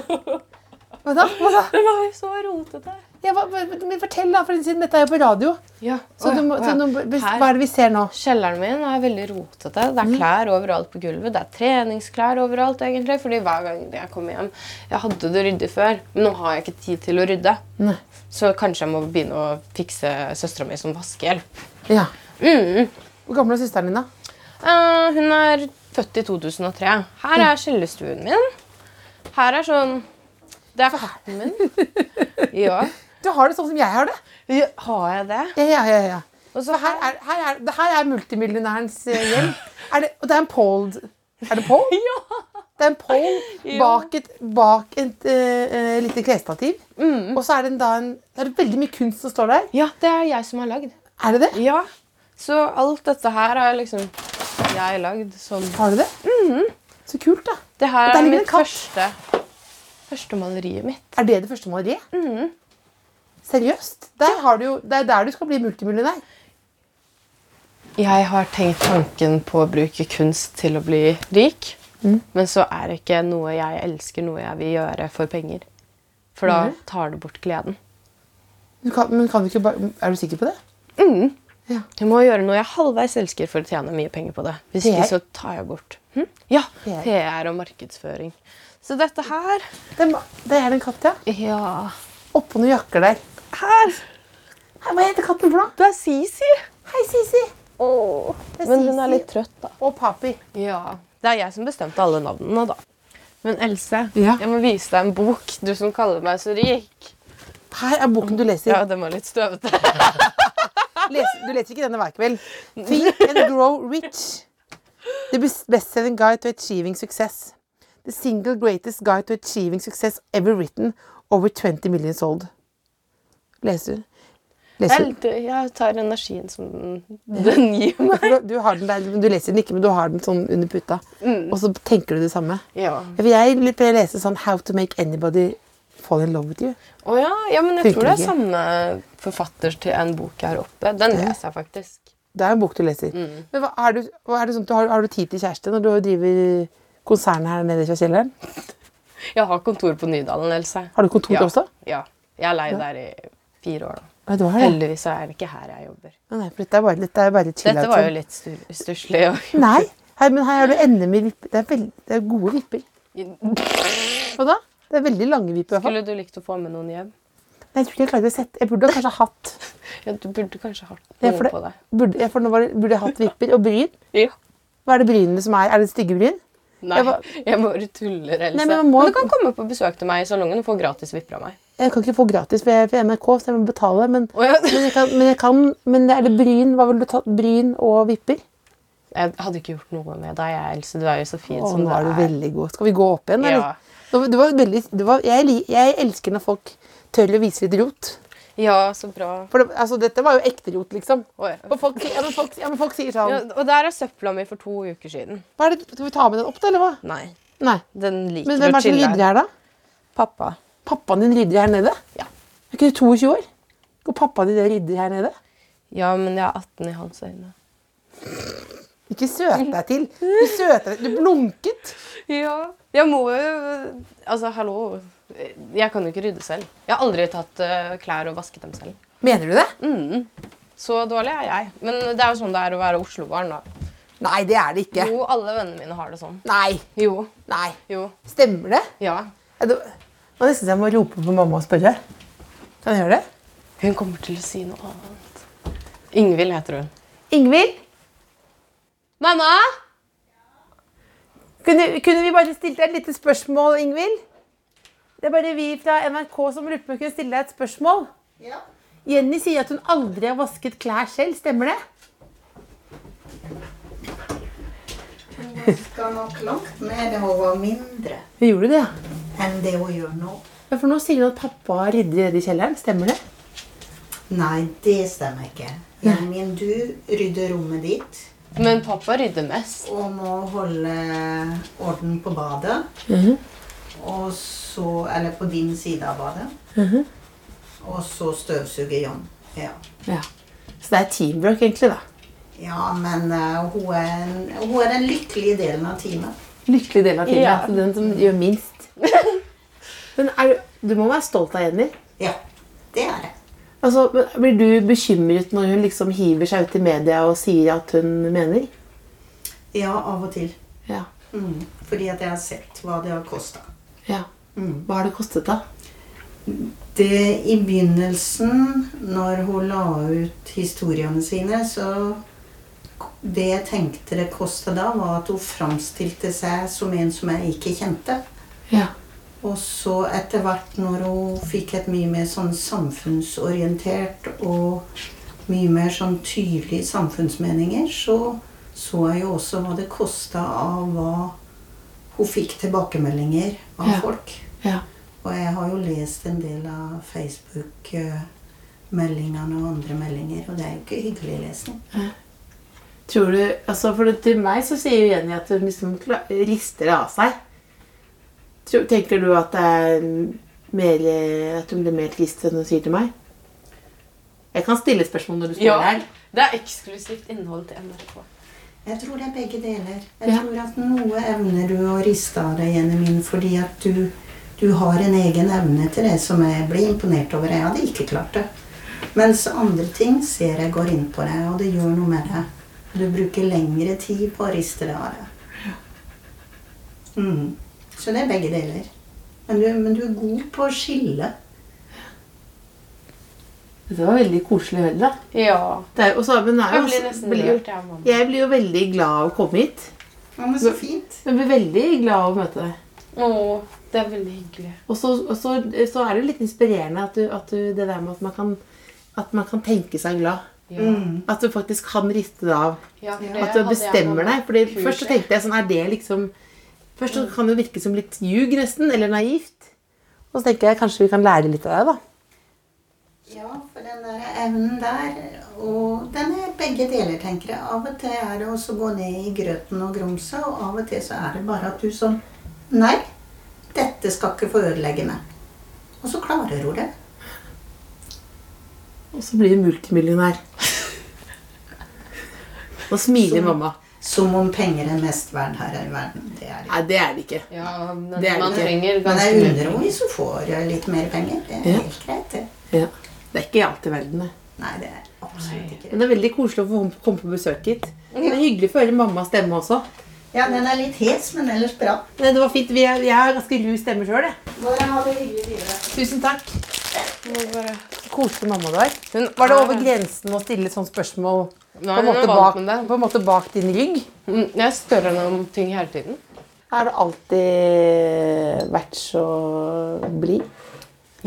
[SPEAKER 3] Hva da?
[SPEAKER 4] var jo så rotete.
[SPEAKER 3] Ja, hva, hva, men fortell, da, for siden dette er jo på radio.
[SPEAKER 4] Ja.
[SPEAKER 3] Så, du må,
[SPEAKER 4] å
[SPEAKER 3] så
[SPEAKER 4] ja.
[SPEAKER 3] nå må- hvis,
[SPEAKER 4] Her.
[SPEAKER 3] hva er det vi ser nå?
[SPEAKER 4] Kjelleren min er veldig rotete. Det er klær overalt på gulvet. Det er treningsklær overalt, egentlig. Fordi hver gang jeg kommer hjem Jeg hadde det ryddig før, men nå har jeg ikke tid til å rydde.
[SPEAKER 3] Nei.
[SPEAKER 4] Så kanskje jeg må begynne å fikse søstera mi som vaskehjelp.
[SPEAKER 3] Ja. Hvor gammel er søsteren din, da?
[SPEAKER 4] Eh, hun er født i 2003. Her er kjellerstuen min. Her er sånn Det er farten min. Ja.
[SPEAKER 3] Du har det sånn som jeg har det.
[SPEAKER 4] Ja, Har jeg det?
[SPEAKER 3] Ja, ja, ja, ja.
[SPEAKER 4] Og så
[SPEAKER 3] Så her er, her er, det her er multimillionærens eh, hjem. Er det, og det er en pole Er det pole?
[SPEAKER 4] Ja.
[SPEAKER 3] Det er en pole bak et, bak et eh, eh, lite klesstativ.
[SPEAKER 4] Mm.
[SPEAKER 3] Og så er det, en, da en, det er veldig mye kunst som står der.
[SPEAKER 4] ja, det er jeg som har lagd.
[SPEAKER 3] Er det det?
[SPEAKER 4] Ja. Så alt dette her er liksom jeg lagd som
[SPEAKER 3] Har du det?
[SPEAKER 4] Mm.
[SPEAKER 3] Så kult, da.
[SPEAKER 4] Det her
[SPEAKER 3] Og der
[SPEAKER 4] er
[SPEAKER 3] ligger en
[SPEAKER 4] mitt
[SPEAKER 3] katt.
[SPEAKER 4] første, første maleriet mitt.
[SPEAKER 3] Er det det første maleriet?
[SPEAKER 4] Mm.
[SPEAKER 3] Seriøst? Der har du jo, det er der du skal bli multimillionær.
[SPEAKER 4] Jeg har tenkt tanken på å bruke kunst til å bli rik.
[SPEAKER 3] Mm.
[SPEAKER 4] Men så er det ikke noe jeg elsker, noe jeg vil gjøre for penger. For
[SPEAKER 3] Mm.
[SPEAKER 4] da tar det bort gleden.
[SPEAKER 3] Du kan, men kan du ikke bare, er du sikker på det? Ja.
[SPEAKER 4] Jeg må gjøre noe jeg halvveis elsker for å tjene mye penger på det. Hvis ikke,
[SPEAKER 3] PR?
[SPEAKER 4] så tar jeg bort. Hm? Ja,
[SPEAKER 3] PR.
[SPEAKER 4] PR og markedsføring. Så dette her
[SPEAKER 3] Det, må- det er en katt, ja.
[SPEAKER 4] Ja.
[SPEAKER 3] Oppå noen jakker der.
[SPEAKER 4] Her!
[SPEAKER 3] Hei, Hva heter katten for noe?
[SPEAKER 4] Du er Sisi.
[SPEAKER 3] Hei, Sisi. Det er
[SPEAKER 4] Men hun
[SPEAKER 3] Sisi
[SPEAKER 4] er litt trøtt, da.
[SPEAKER 3] Og Papi.
[SPEAKER 4] Ja. Det er jeg som bestemte alle navnene, da. Men Else,
[SPEAKER 3] Ja.
[SPEAKER 4] jeg må vise deg en bok. Du som kaller meg så rik.
[SPEAKER 3] Her er boken du leser.
[SPEAKER 4] Ja, den var litt støvete.
[SPEAKER 3] Les- du leser ikke denne hver kveld. Think and grow rich. The best- best-selling guide to achieving success. The single greatest guide to achieving success ever written. Over 20 million sold. Leser du? Leser du?
[SPEAKER 4] Jeg, jeg tar energien som den, den gir meg.
[SPEAKER 3] Du- Du har den der, men du leser den ikke, men du har den sånn under puta. Og så tenker du det samme.
[SPEAKER 4] Mm. Ja.
[SPEAKER 3] Ja, for Jeg pleier å lese sånn How to make anybody fall in love with you.
[SPEAKER 4] Å ja, ja, men jeg tror det
[SPEAKER 3] Funker
[SPEAKER 4] er samme forfatter til en bok her oppe. Den leser jeg faktisk.
[SPEAKER 3] Det er jo en bok du leser.
[SPEAKER 4] Mm.
[SPEAKER 3] Men hva, er du, hva er det sånn, at du har, har du tid til kjæreste når du driver konsernet her nede i kjelleren?
[SPEAKER 4] Jeg har kontor på Nydalen, Else.
[SPEAKER 3] Har du kontor
[SPEAKER 4] ja.
[SPEAKER 3] også?
[SPEAKER 4] Ja. Jeg er lei der i fire år nå.
[SPEAKER 3] Ja, du har det.
[SPEAKER 4] Heldigvis så er det ikke her jeg jobber.
[SPEAKER 3] Ja, Nei, for dette er bare litt, det er bare litt chill
[SPEAKER 4] Dette
[SPEAKER 3] out,
[SPEAKER 4] var
[SPEAKER 3] sånn.
[SPEAKER 4] jo litt stu- stusslig. å-
[SPEAKER 3] Nei, her, men her har du NM i vipper. Det er, veld, det er gode vipper. Hva da? Det er veldig lange vipper. i hvert fall.
[SPEAKER 4] Skulle du likt å få med noen hjem?
[SPEAKER 3] Nei, jeg tror ikke jeg klarte å sette. Jeg burde kanskje hatt
[SPEAKER 4] Ja, du burde kanskje hatt
[SPEAKER 3] Ja,
[SPEAKER 4] noe
[SPEAKER 3] for det-
[SPEAKER 4] på deg.
[SPEAKER 3] burde, ja, for nå var det, burde jeg hatt vipper og bryn.
[SPEAKER 4] Ja.
[SPEAKER 3] Hva er det brynene som er? Er det stygge bryn?
[SPEAKER 4] Nei,
[SPEAKER 3] Jeg
[SPEAKER 4] jeg,
[SPEAKER 3] var-
[SPEAKER 4] bare tuller, Else.
[SPEAKER 3] Nei, men
[SPEAKER 4] men,
[SPEAKER 3] man må-
[SPEAKER 4] du kan komme på besøk til meg i salongen og få gratis vipper av meg.
[SPEAKER 3] Jeg kan ikke få gratis for jeg er på NRK, så jeg må betale. Men,
[SPEAKER 4] Å, ja.
[SPEAKER 3] men, jeg kan, men, jeg kan, men er det bryn? Hva ville du tatt? Bryn og vipper?
[SPEAKER 4] Jeg hadde ikke gjort noe med deg, jeg, Else. Du er jo så fin
[SPEAKER 3] Å,
[SPEAKER 4] som
[SPEAKER 3] nå er
[SPEAKER 4] du
[SPEAKER 3] du
[SPEAKER 4] Sånn er.
[SPEAKER 3] veldig god. Skal vi gå opp igjen? eller?
[SPEAKER 4] Ja.
[SPEAKER 3] Nå- Du var veldig, du var, jeg, li- jeg elsker når folk tør å vise litt rot.
[SPEAKER 4] Ja, så bra.
[SPEAKER 3] For det, altså, dette var jo ekte rot, liksom.
[SPEAKER 4] Å, ja.
[SPEAKER 3] Og folk, sier- ja, men folk, ja, men folk sier sånn
[SPEAKER 4] Ja, og der er søpla mi for to uker siden.
[SPEAKER 3] hva er det, Skal vi ta med den opp, da, eller hva?
[SPEAKER 4] Nei,
[SPEAKER 3] Nei.
[SPEAKER 4] den liker
[SPEAKER 3] Men hvem er det som rydder her, da?
[SPEAKER 4] Pappa.
[SPEAKER 3] Pappaen din rydder her nede?
[SPEAKER 4] Ja.
[SPEAKER 3] Er ikke du 22 år? Går pappaen din og rydder her nede?
[SPEAKER 4] Ja, men jeg er 18 i hans øyne.
[SPEAKER 3] Ikke søt deg til. Du søter deg Du blunket.
[SPEAKER 4] Ja, jeg må jo Altså, hallo. Jeg kan jo ikke rydde selv. Jeg har aldri tatt eh, klær og vasket dem selv.
[SPEAKER 3] Mener du det?
[SPEAKER 4] Så dårlig er jeg. Men det er jo sånn det er å være Oslo-barn, da.
[SPEAKER 3] Nei, det er det ikke.
[SPEAKER 4] Jo, alle vennene mine har det sånn.
[SPEAKER 3] Nei.
[SPEAKER 4] Jo.
[SPEAKER 3] Nei.
[SPEAKER 4] Jo.
[SPEAKER 3] Stemmer det?
[SPEAKER 4] Ja.
[SPEAKER 3] Er det Nå er det nesten så jeg må rope på mamma og spørre. Kan jeg gjøre det?
[SPEAKER 4] Hun kommer til å si noe annet. Ingvild heter hun.
[SPEAKER 3] Ingvild,
[SPEAKER 4] Mamma!
[SPEAKER 3] kunne, kunne vi bare stilt deg et lite spørsmål, Ingvild? Det er bare vi fra NRK som lurte på om vi kunne stille deg et spørsmål.
[SPEAKER 5] Ja.
[SPEAKER 3] Jenny sier at hun aldri har vasket klær selv. Stemmer det?
[SPEAKER 5] Skal nok langt med det hun var mindre
[SPEAKER 3] Hun gjorde det, ja.
[SPEAKER 5] enn det hun gjør nå.
[SPEAKER 3] Ja, For nå sier hun at pappa rydder nede i kjelleren. Stemmer det?
[SPEAKER 5] Nei, det stemmer ikke. Gjermin, du rydder rommet ditt
[SPEAKER 4] Men pappa rydder mest.
[SPEAKER 5] og må holde orden på badet. Og så Eller på din side av badet. Og så støvsuger John. Ja.
[SPEAKER 3] Ja. Så det er teamwork, egentlig, da.
[SPEAKER 5] Ja, men eh, hun, er, en- hun er den lykkelige delen av teamet.
[SPEAKER 3] Lykkelig del av teamet.
[SPEAKER 4] Ja.
[SPEAKER 3] altså Den som gjør minst. Men er, du- du må være stolt av Jenny.
[SPEAKER 5] Ja, det er det.
[SPEAKER 3] Altså, men Blir du bekymret når hun liksom hiver seg ut i media og sier at hun mener?
[SPEAKER 5] Ja, av og til.
[SPEAKER 3] Ja.
[SPEAKER 5] Mm. Fordi at jeg har sett hva det har kosta.
[SPEAKER 3] ja. Hva har det kostet, da?
[SPEAKER 5] Det i begynnelsen, når hun la ut historiene sine, så Det jeg tenkte det kosta da, var at hun framstilte seg som en som jeg ikke kjente.
[SPEAKER 3] Ja.
[SPEAKER 5] Og så etter hvert, når hun fikk et mye mer sånn samfunnsorientert og mye mer sånn tydelige samfunnsmeninger, så så jeg jo også hva det kosta av hva hun fikk tilbakemeldinger av
[SPEAKER 3] Ja.
[SPEAKER 5] folk.
[SPEAKER 3] ja.
[SPEAKER 5] Og jeg har jo lest en del av Facebook-meldingene og andre meldinger, og det er jo ikke hyggelig lesning.
[SPEAKER 3] Tror du, altså for det, Til meg så sier jo Jenny at hun liksom kla- rister det av seg. Tror, tenker du at det er mer, eh, at hun blir mer trist enn hun sier til meg? Jeg kan stille spørsmål når du står der.
[SPEAKER 4] Det er eksklusivt innhold til NRK.
[SPEAKER 5] Jeg tror det er begge deler. Jeg
[SPEAKER 3] Ja.
[SPEAKER 5] tror at noe evner du å riste av deg, Jenny min, fordi at du, du har en egen evne til det som jeg blir imponert over. Jeg hadde ikke klart det. Mens andre ting ser jeg går inn på deg, og det gjør noe med deg. Du bruker lengre tid på å riste det av deg. Mm. Så det er begge deler. Men du, men du er god på å skille.
[SPEAKER 3] Dette var veldig koselig å høre, da.
[SPEAKER 4] Ja.
[SPEAKER 3] Det er, og så, men det er jo
[SPEAKER 4] Jeg blir
[SPEAKER 3] også-
[SPEAKER 4] nesten
[SPEAKER 3] blir jo-
[SPEAKER 4] rørt, jeg, mamma.
[SPEAKER 3] jeg blir jo veldig glad av å komme hit.
[SPEAKER 5] Ja, men så fint.
[SPEAKER 3] Jeg blir veldig glad av å møte deg.
[SPEAKER 4] Å, det er veldig hyggelig.
[SPEAKER 3] Og så, og så, så er det jo litt inspirerende at, du, at du, det der med at man, kan, at man kan tenke seg glad.
[SPEAKER 4] Ja.
[SPEAKER 3] At du faktisk kan riste det av.
[SPEAKER 4] Ja, for det
[SPEAKER 3] At du
[SPEAKER 4] hadde jeg
[SPEAKER 3] bestemmer
[SPEAKER 4] mamma
[SPEAKER 3] deg. Fordi
[SPEAKER 4] kurs
[SPEAKER 3] først så
[SPEAKER 4] i.
[SPEAKER 3] tenkte jeg sånn, er det liksom Først så kan det virke som litt ljug nesten, eller naivt. Og så tenker jeg kanskje vi kan lære litt av deg, da.
[SPEAKER 5] Ja, for den der evnen der, og den er begge deler, tenker jeg. Av og til er det også å gå ned i grøten og grumse, og av og til så er det bare at du sånn Nei, dette skal ikke få ødelegge meg. Og så klarer hun det.
[SPEAKER 3] Og så blir du multimillionær. Nå smiler mamma.
[SPEAKER 5] Som om penger er mest verd her i verden. Det er det.
[SPEAKER 3] Nei, det er det ikke.
[SPEAKER 4] Ja, men
[SPEAKER 3] Det er
[SPEAKER 4] man
[SPEAKER 3] det ikke.
[SPEAKER 4] trenger
[SPEAKER 5] Men
[SPEAKER 4] ganske
[SPEAKER 5] jeg
[SPEAKER 4] mye.
[SPEAKER 5] undrer henne hvis hun får litt mer penger. Det er
[SPEAKER 3] Ja.
[SPEAKER 5] helt greit, det.
[SPEAKER 3] Ja. Det er ikke i alt i verden, det.
[SPEAKER 5] Nei, det er absolutt ikke
[SPEAKER 3] Men det er veldig koselig å få komme på besøk hit. Det er hyggelig å få høre mammas stemme også.
[SPEAKER 5] Ja, den er litt hes, men ellers bra.
[SPEAKER 3] Nei, det var fint. Vi er, jeg har ganske ru stemme sjøl, jeg.
[SPEAKER 5] Bare ha det hyggelig videre.
[SPEAKER 3] Tusen takk.
[SPEAKER 4] Må bare...
[SPEAKER 3] Koselig mamma du er. Hun, var det over grensen å stille sånn spørsmål
[SPEAKER 4] Nei,
[SPEAKER 3] på, en
[SPEAKER 4] hun er
[SPEAKER 3] måte
[SPEAKER 4] vant
[SPEAKER 3] bak,
[SPEAKER 4] med det.
[SPEAKER 3] på en måte bak din rygg?
[SPEAKER 4] Mm, Jeg spør henne om ting hele tiden.
[SPEAKER 3] Har du alltid vært så blid?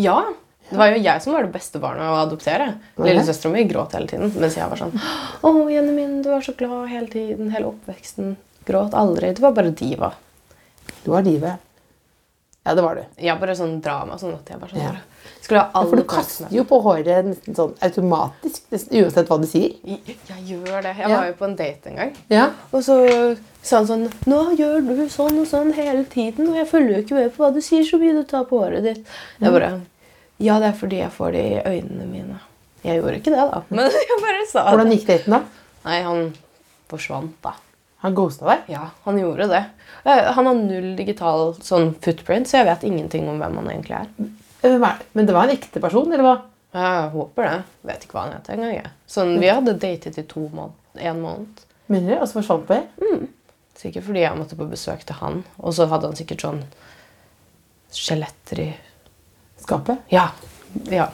[SPEAKER 4] Ja. Det var jo jeg som var det beste barnet å adoptere. Lillesøstera mi gråt hele tiden. Mens jeg var sånn Å, Jenny min, du er så glad hele tiden. Hele oppveksten. Gråt aldri. Du var bare diva.
[SPEAKER 3] Du var livet. Ja, det var du.
[SPEAKER 4] Jeg bare sånn drama. sånn at jeg bare sånn
[SPEAKER 3] Ja.
[SPEAKER 4] bare Skulle ha
[SPEAKER 3] For
[SPEAKER 4] alle
[SPEAKER 3] du kaster jo på håret nesten sånn automatisk, nesten uansett hva du sier.
[SPEAKER 4] Jeg, jeg gjør det. Jeg
[SPEAKER 3] Ja.
[SPEAKER 4] var jo på en date en gang.
[SPEAKER 3] Ja.
[SPEAKER 4] Og så sa han sånn Nå gjør du sånn og sånn hele tiden, og jeg følger jo ikke med på hva du sier så mye du tar på håret ditt. Jeg bare
[SPEAKER 3] Mm.
[SPEAKER 4] Ja, det er fordi jeg får det i øynene mine. Jeg gjorde ikke det, da. Men jeg bare sa
[SPEAKER 3] Hvordan
[SPEAKER 4] det.
[SPEAKER 3] gikk daten, da?
[SPEAKER 4] Nei, han forsvant, da.
[SPEAKER 3] Han ghosta deg?
[SPEAKER 4] Ja, han gjorde det. Eh, Han har null digital sånn footprint, så jeg vet ingenting om hvem han egentlig er.
[SPEAKER 3] Eh, Hvem er det? Men det var en ekte person, eller hva?
[SPEAKER 4] Jeg håper det. Vet ikke hva han heter engang. jeg. Sånn, vi hadde datet i to måned. En måned.
[SPEAKER 3] Mener du? Og så forsvant det?
[SPEAKER 4] Sikkert fordi jeg måtte på besøk til han. Og så hadde han sikkert sånn skjeletter i
[SPEAKER 3] Skapet?
[SPEAKER 4] Ja. ja.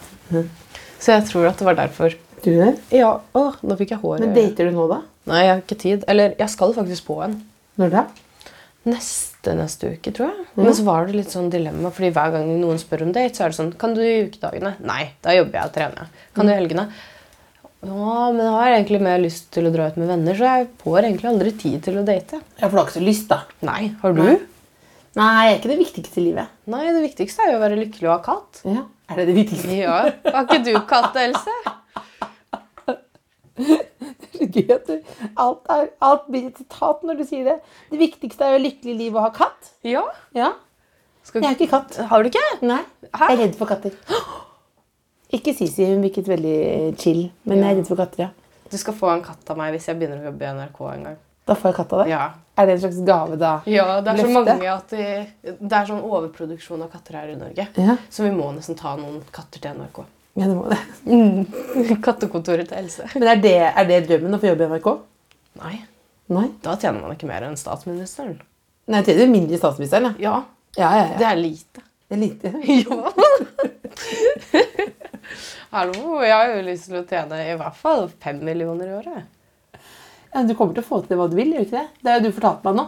[SPEAKER 4] Så jeg tror at det var derfor.
[SPEAKER 3] Tror du det?
[SPEAKER 4] Ja, åh, nå fikk jeg hår. i
[SPEAKER 3] Men
[SPEAKER 4] øyet.
[SPEAKER 3] dater du nå, da?
[SPEAKER 4] Nei, jeg har ikke tid. Eller jeg skal faktisk på en.
[SPEAKER 3] Når da?
[SPEAKER 4] Neste neste uke, tror jeg. Men så var det litt sånn dilemma, fordi hver gang noen spør om date, så er det sånn Kan du i ukedagene? Nei, da jobber jeg og trener. Kan du i helgene? Ja, men jeg har egentlig mer lyst til å dra ut med venner, så jeg får egentlig aldri tid til å date.
[SPEAKER 3] Ja, for du har ikke så lyst, da.
[SPEAKER 4] Nei, har du?
[SPEAKER 3] Nei. Nei, jeg er ikke det viktigste i livet.
[SPEAKER 4] Nei, det viktigste er jo å være lykkelig og ha katt.
[SPEAKER 3] Ja. Er det det viktigste?
[SPEAKER 4] Ja, Har ikke du katt, Else?
[SPEAKER 3] Gøy at du alt, er, alt blir et sitat når du sier det. Det viktigste er jo lykkelig liv og ha katt.
[SPEAKER 4] Ja.
[SPEAKER 3] Ja.
[SPEAKER 4] Skal-
[SPEAKER 3] Jeg har ikke katt.
[SPEAKER 4] Har du ikke?
[SPEAKER 3] Nei.
[SPEAKER 4] Hæ?
[SPEAKER 3] Jeg er redd for katter. Ikke Sisi, hun virket veldig chill, men jeg er redd for katter, ja.
[SPEAKER 4] Du skal få en katt av meg hvis jeg begynner å jobbe i NRK en gang.
[SPEAKER 3] Da får jeg katt av deg.
[SPEAKER 4] Ja,
[SPEAKER 3] Er det en slags gave, da?
[SPEAKER 4] det er så
[SPEAKER 3] Løfte.
[SPEAKER 4] mange at de, Det er sånn overproduksjon av katter her i Norge.
[SPEAKER 3] Ja.
[SPEAKER 4] Så vi må nesten ta noen katter til NRK.
[SPEAKER 3] Ja, det må det.
[SPEAKER 4] Kattekontoret til Else.
[SPEAKER 3] Men er det, er det drømmen å få jobbe i NRK?
[SPEAKER 4] Nei,
[SPEAKER 3] Nei.
[SPEAKER 4] da tjener man ikke mer enn statsministeren.
[SPEAKER 3] Nei, jeg tjener mindre i statsministeren, ja.
[SPEAKER 4] Ja,
[SPEAKER 3] Ja, ja, ja.
[SPEAKER 4] det er lite.
[SPEAKER 3] Det er lite.
[SPEAKER 4] Ja. Hallo, jeg har jo lyst til å tjene i hvert fall fem millioner i året.
[SPEAKER 3] Ja, du kommer til å få til hva du vil, gjør du ikke det? Det er jo du fortalte meg nå.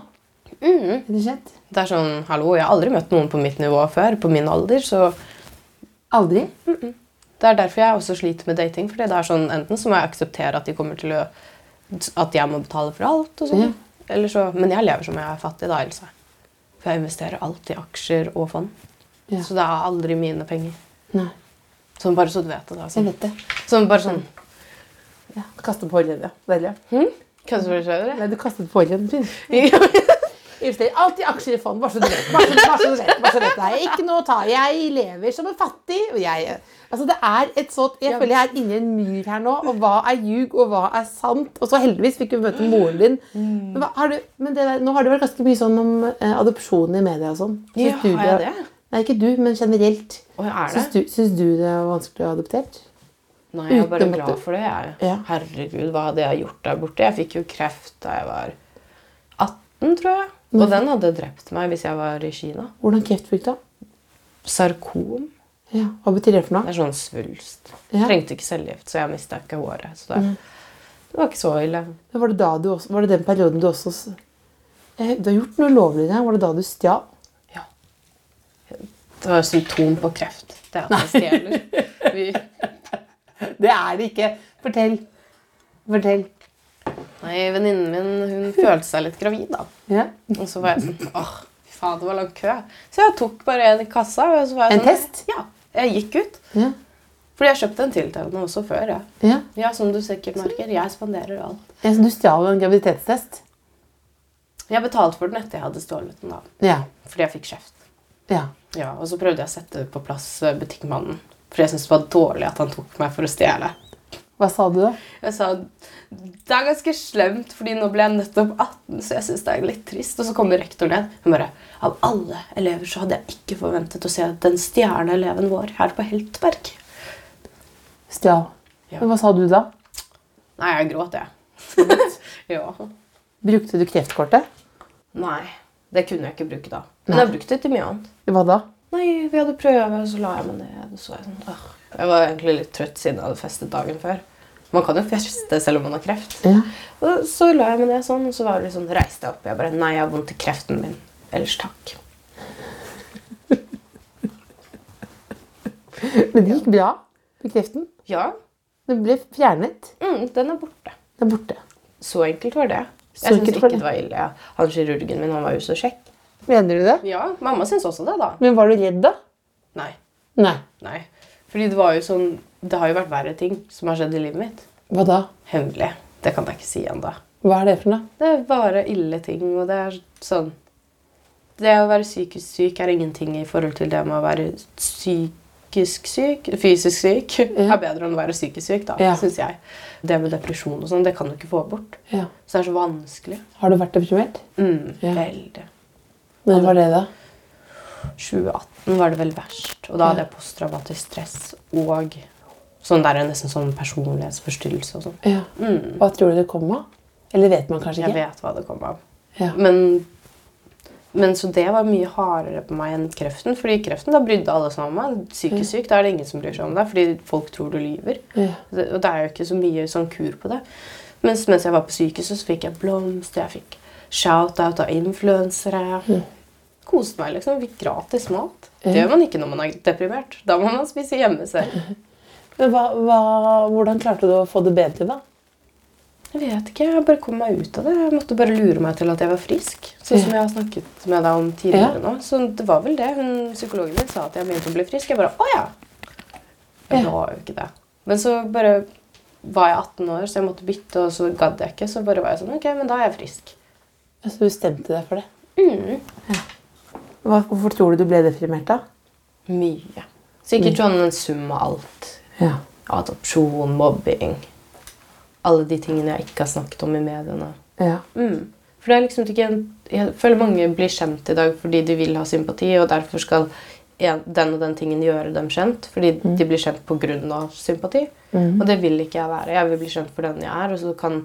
[SPEAKER 4] Mhm.
[SPEAKER 3] Rett og slett.
[SPEAKER 4] Det er sånn, hallo, jeg har aldri møtt noen på mitt nivå før, på min alder, så
[SPEAKER 3] Aldri.
[SPEAKER 4] Det er derfor jeg også sliter med dating. fordi det er sånn, Enten så må jeg akseptere at de kommer til å At jeg må betale for alt. og sånn. Eller så, Men jeg lever som jeg er fattig, da. Else. For jeg investerer alt i aksjer og fond.
[SPEAKER 3] Ja.
[SPEAKER 4] Så det er aldri mine penger.
[SPEAKER 3] Nei,
[SPEAKER 4] Sånn bare så du vet det. da.
[SPEAKER 3] jeg
[SPEAKER 4] Sånn,
[SPEAKER 3] vet det.
[SPEAKER 4] sånn bare sånn
[SPEAKER 3] Ja. Kaste på hårleddet, ja. Deilig. ja.
[SPEAKER 4] Kødder du med
[SPEAKER 3] Nei, du kastet på hårleddet din.
[SPEAKER 4] det?
[SPEAKER 3] Investerer alltid i aksjer i fond, bare så du vet. Bare så, bare så du vet, bare så du vet. Det er ikke noe å ta. Jeg lever som en fattig. og Jeg, altså, det er et sånt, jeg føler jeg er inne i en myr her nå, og hva er ljug, og hva er sant? Og så heldigvis fikk vi møte moren din.
[SPEAKER 4] Mm.
[SPEAKER 3] Men, hva, har du, men det der, nå har det vært ganske mye sånn om eh, adopsjon i media og sånn. Syns
[SPEAKER 4] Ja,
[SPEAKER 3] du
[SPEAKER 4] har jeg det?
[SPEAKER 3] Nei, ikke du, men generelt.
[SPEAKER 4] Å, er
[SPEAKER 3] Syns
[SPEAKER 4] det?
[SPEAKER 3] du, syns du det er vanskelig å adoptere?
[SPEAKER 4] Nei, jeg er bare
[SPEAKER 3] Uten at
[SPEAKER 4] glad
[SPEAKER 3] det-
[SPEAKER 4] for det. Jeg.
[SPEAKER 3] Ja.
[SPEAKER 4] Herregud, hva hadde jeg gjort der borte? Jeg fikk jo kreft da jeg var 18, tror jeg.
[SPEAKER 3] Mm.
[SPEAKER 4] Og den hadde drept meg hvis jeg var i Kina.
[SPEAKER 3] Hvordan kreft fikk du? da?
[SPEAKER 4] Sarkom.
[SPEAKER 3] Ja. Hva betyr det for
[SPEAKER 4] Det
[SPEAKER 3] noe?
[SPEAKER 4] er sånn svulst.
[SPEAKER 3] Ja. Mm.
[SPEAKER 4] Trengte ikke cellegift, så jeg mista ikke håret. Så det, det var ikke så ille.
[SPEAKER 3] Men Var det, da du også, var det den perioden du også s- Eh, Du har gjort noe lovlig der. Var det da du stjal?
[SPEAKER 4] Ja. Det var symptom på kreft. Det er at jeg stjeler. Vi,
[SPEAKER 3] Det er det ikke. Fortell. Fortell.
[SPEAKER 4] nei, venninnen min hun følte seg litt gravid, da.
[SPEAKER 3] Ja.
[SPEAKER 4] Og så var jeg
[SPEAKER 3] Mm.
[SPEAKER 4] sånn Åh, fy faen, det var lang kø. Så jeg tok bare en i kassa. Og så var jeg
[SPEAKER 3] En
[SPEAKER 4] sånn,
[SPEAKER 3] test?
[SPEAKER 4] Ja. Jeg gikk ut.
[SPEAKER 3] Ja.
[SPEAKER 4] Fordi jeg kjøpte en til til henne også før. Ja.
[SPEAKER 3] ja.
[SPEAKER 4] ja, som du sikkert merker, jeg spanderer alt.
[SPEAKER 3] Ja, så du stjal jo en graviditetstest?
[SPEAKER 4] Jeg betalte for den etter jeg hadde stjålet den, da.
[SPEAKER 3] Ja.
[SPEAKER 4] Fordi jeg fikk kjeft.
[SPEAKER 3] Ja.
[SPEAKER 4] Ja, og så prøvde jeg å sette på plass eh, butikkmannen. For jeg syntes det var dårlig at han tok meg for å stjele.
[SPEAKER 3] Hva sa du da?
[SPEAKER 4] Jeg sa det er ganske slemt, fordi nå ble jeg nettopp 18, så jeg synes det er litt trist. Og så kommer rektoren ned. Hun bare Av alle elever så hadde jeg ikke forventet å se den stjerneeleven vår her på Heltberg.
[SPEAKER 3] Stjal.
[SPEAKER 4] Ja.
[SPEAKER 3] Men hva sa du da?
[SPEAKER 4] Nei, jeg gråt, jeg. ja.
[SPEAKER 3] Brukte du kreftkortet?
[SPEAKER 4] Nei, det kunne jeg ikke bruke da. Men jeg brukte det til mye annet.
[SPEAKER 3] Hva da?
[SPEAKER 4] Nei, vi hadde prøve, så la jeg meg ned. Og så var jeg sånn «Åh». Jeg var egentlig litt trøtt siden jeg hadde festet dagen før. Man kan jo feste selv om man har kreft.
[SPEAKER 3] Ja.
[SPEAKER 4] Og så la jeg meg ned sånn, og så var det litt sånn, reiste jeg opp. Jeg bare Nei, jeg har vondt i kreften min. Ellers takk.
[SPEAKER 3] Men det gikk bra med kreften.
[SPEAKER 4] Ja,
[SPEAKER 3] Den ble fjernet.
[SPEAKER 4] mm, den er borte.
[SPEAKER 3] Den er borte.
[SPEAKER 4] Så enkelt var det.
[SPEAKER 3] Så
[SPEAKER 4] Jeg syns
[SPEAKER 3] enkelt
[SPEAKER 4] ikke
[SPEAKER 3] var det.
[SPEAKER 4] det var ille. ja. Han kirurgen min han var jo så kjekk.
[SPEAKER 3] Mener du det?
[SPEAKER 4] Ja, mamma syns også det, da.
[SPEAKER 3] Men var du redd da?
[SPEAKER 4] Nei.
[SPEAKER 3] Nei.
[SPEAKER 4] nei. Fordi det var jo sånn Det har jo vært verre ting som har skjedd i livet mitt.
[SPEAKER 3] Hva da?
[SPEAKER 4] Hemmelig. Det kan jeg ikke si ennå.
[SPEAKER 3] Hva er det for noe?
[SPEAKER 4] Det er bare ille ting, og det er sånn Det å være psykisk syk er ingenting i forhold til det med å være psykisk syk. Fysisk syk
[SPEAKER 3] Ja.
[SPEAKER 4] er bedre enn å være psykisk syk, da,
[SPEAKER 3] Ja.
[SPEAKER 4] syns jeg. Det med depresjon og sånn, det kan du ikke få bort.
[SPEAKER 3] Ja.
[SPEAKER 4] Så det er så vanskelig.
[SPEAKER 3] Har du vært deprimert?
[SPEAKER 4] Mm,
[SPEAKER 3] Ja.
[SPEAKER 4] Veldig.
[SPEAKER 3] Når var det da?
[SPEAKER 4] 2018 var det vel verst. Og da hadde jeg posttraumatisk stress og sånn der, nesten sånn personlighetsforstyrrelse og sånn.
[SPEAKER 3] Ja. Hva tror du det kom av? Eller vet man kanskje
[SPEAKER 4] Jeg
[SPEAKER 3] ikke?
[SPEAKER 4] vet hva det kom av.
[SPEAKER 3] Ja.
[SPEAKER 4] Men, men så det var mye hardere på meg enn kreften. Fordi kreften, da brydde alle seg om meg. Psykisk syk, da er det ingen som bryr seg om deg, fordi folk tror du lyver.
[SPEAKER 3] Ja.
[SPEAKER 4] Det- Og det er jo ikke så mye sånn kur på det. Mens mens jeg var på sykehuset, så fikk jeg blomster, jeg fikk shout-out av influensere. Koste meg, liksom. Fikk gratis mat. Det gjør man ikke når man er deprimert. Da må man spise hjemme selv.
[SPEAKER 3] Men hva, hva, hvordan klarte du å få det bedre da?
[SPEAKER 4] Jeg vet ikke, jeg bare kom meg ut av det. Jeg måtte bare lure meg til at jeg var frisk. Sånn som jeg har snakket med deg om tidligere
[SPEAKER 3] Ja.
[SPEAKER 4] nå. Så det var vel det. Hun, psykologen min sa at jeg begynte å bli frisk. Jeg bare Å ja! Jeg var jo ikke det. Men så bare var jeg 18 år, så jeg måtte bytte, og så gadd jeg ikke. Så bare var jeg sånn Ok, men da er jeg frisk. Mm.
[SPEAKER 3] Så Altså, du stemte deg for det? Ja. Hva, hvorfor tror du du ble deprimert da?
[SPEAKER 4] Mye. Sikkert sånn en sum av alt.
[SPEAKER 3] Ja.
[SPEAKER 4] Adopsjon, mobbing Alle de tingene jeg ikke har snakket om i mediene.
[SPEAKER 3] Ja.
[SPEAKER 4] Mm. For det er liksom ikke en, Jeg føler mange blir kjent i dag fordi de vil ha sympati, og derfor skal en, den og den tingen gjøre dem kjent. Fordi de blir kjent pga. sympati. Og det vil ikke jeg være. Jeg vil bli kjent for den jeg er, og så kan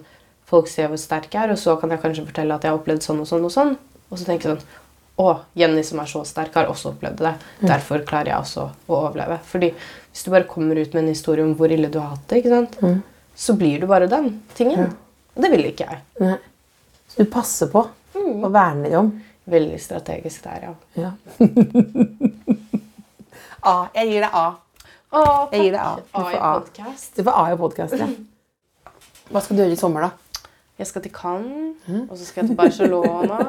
[SPEAKER 4] folk se hvor sterk jeg er, og så kan jeg kanskje fortelle at jeg har opplevd sånn og sånn og sånn. Og så tenker jeg sånn Å, Jenny som er så sterk, har også opplevd det. Derfor klarer jeg også å overleve. Fordi hvis du bare kommer ut med en historie om hvor ille du har hatt det, ikke sant? så blir du bare den tingen. Og det vil ikke jeg.
[SPEAKER 3] Nei. Så du passer på og verner om.
[SPEAKER 4] Veldig strategisk der,
[SPEAKER 3] Ja.
[SPEAKER 4] ja.
[SPEAKER 3] A. Jeg gir deg A.
[SPEAKER 4] Å,
[SPEAKER 3] Jeg gir deg A.
[SPEAKER 4] takk.
[SPEAKER 3] Du får
[SPEAKER 4] i
[SPEAKER 3] A.
[SPEAKER 4] podcast.
[SPEAKER 3] Du får A i podkast, ja. Hva skal du gjøre i sommer, da?
[SPEAKER 4] Jeg skal til Cannes, og så skal jeg til Barcelona.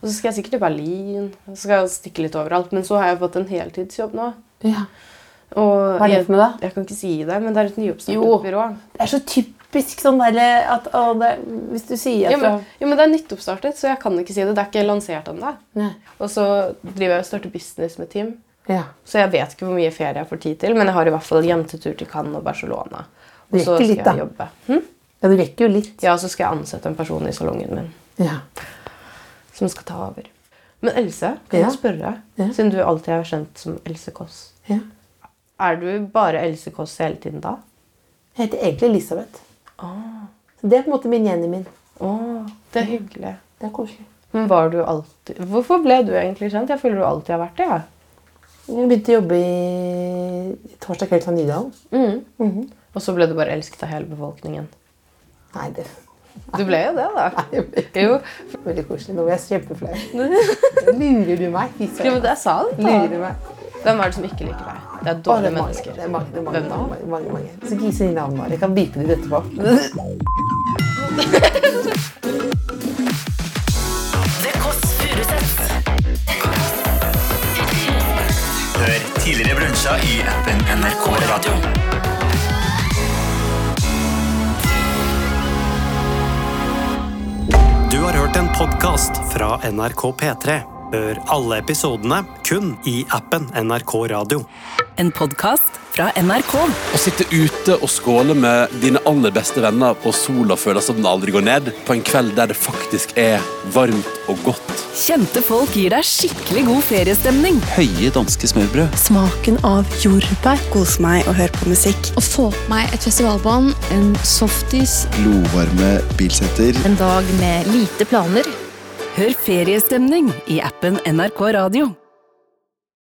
[SPEAKER 4] Og så skal jeg sikkert til Berlin. Og så skal jeg stikke litt overalt. Men så har jeg fått en heltidsjobb nå.
[SPEAKER 3] Ja.
[SPEAKER 4] Og
[SPEAKER 3] Hva er det
[SPEAKER 4] jeg,
[SPEAKER 3] for noe, da?
[SPEAKER 4] Jeg kan ikke si det, men det er et
[SPEAKER 3] Jo.
[SPEAKER 4] nyoppstartet byrå.
[SPEAKER 3] Det er så typisk sånn derre at å, det, Hvis du sier
[SPEAKER 4] Ja,
[SPEAKER 3] at
[SPEAKER 4] men, ja, men det er nyttoppstartet, så jeg kan ikke si det. Det er ikke lansert ennå.
[SPEAKER 3] Nei.
[SPEAKER 4] Og så driver jeg og starter business med Tim.
[SPEAKER 3] Ja.
[SPEAKER 4] Så jeg vet ikke hvor mye ferie jeg får tid til, men jeg har i hvert fall en jentetur til Cannes og Barcelona. Og
[SPEAKER 3] Det rekker
[SPEAKER 4] så skal
[SPEAKER 3] litt,
[SPEAKER 4] jeg
[SPEAKER 3] da.
[SPEAKER 4] jobbe. Hm?
[SPEAKER 3] ja, du rekker jo litt.
[SPEAKER 4] Ja, så skal jeg ansette en person i salongen min.
[SPEAKER 3] Ja.
[SPEAKER 4] som skal ta over. Men Else, kan
[SPEAKER 3] Ja.
[SPEAKER 4] jeg spørre,
[SPEAKER 3] Ja.
[SPEAKER 4] siden du alltid er kjent som Else Kåss,
[SPEAKER 3] ja.
[SPEAKER 4] er du bare Else Kåss hele tiden da?
[SPEAKER 3] Jeg heter egentlig Elisabeth. Så det er på en måte min Jenny min.
[SPEAKER 4] Åh, det er hyggelig.
[SPEAKER 3] Det er koselig.
[SPEAKER 4] Men var du alltid Hvorfor ble du egentlig kjent? Jeg føler du alltid har vært det. Ja.
[SPEAKER 3] Jeg begynte å jobbe i torsdag kveld fra Nydalen.
[SPEAKER 4] Mhm. Og så ble du bare elsket av hele befolkningen.
[SPEAKER 3] Nei, det
[SPEAKER 4] Du ble jo det, da.
[SPEAKER 3] er
[SPEAKER 4] Jo.
[SPEAKER 3] veldig koselig. Nå er jeg kjempeflau. Lurer du meg? Fy
[SPEAKER 4] Jo, men
[SPEAKER 3] søren.
[SPEAKER 4] det er sant.
[SPEAKER 3] Lurer
[SPEAKER 4] Da.
[SPEAKER 3] du meg?
[SPEAKER 4] Hvem er det som ikke liker deg? Det er
[SPEAKER 3] Å, det
[SPEAKER 4] dårlige
[SPEAKER 3] er mange.
[SPEAKER 4] mennesker.
[SPEAKER 3] Det er mange, det er mange,
[SPEAKER 4] Hvem da?
[SPEAKER 3] mange, mange, mange. Så ikke gi sine navn bare. Jeg kan bipe det ut etterpå.
[SPEAKER 2] Det Kåss Furuseths.
[SPEAKER 6] Hør tidligere brunsja i appen NRK Radio.
[SPEAKER 1] Du har hørt en podkast fra NRK P3. Hør alle episodene kun i appen NRK Radio.
[SPEAKER 2] En podkast fra NRK.
[SPEAKER 7] Å sitte ute og skåle med dine aller beste venner og sola føles som den aldri går ned, på en kveld der det faktisk er varmt og godt.
[SPEAKER 2] Kjente folk gir deg skikkelig god feriestemning.
[SPEAKER 7] Høye danske smørbrød.
[SPEAKER 8] Smaken av jordbær. Kos meg og hør på musikk.
[SPEAKER 9] Å få på meg et festivalbånd, en softis
[SPEAKER 10] glovarme bilsetter.
[SPEAKER 9] En dag med lite planer.
[SPEAKER 2] Hør feriestemning i appen NRK Radio.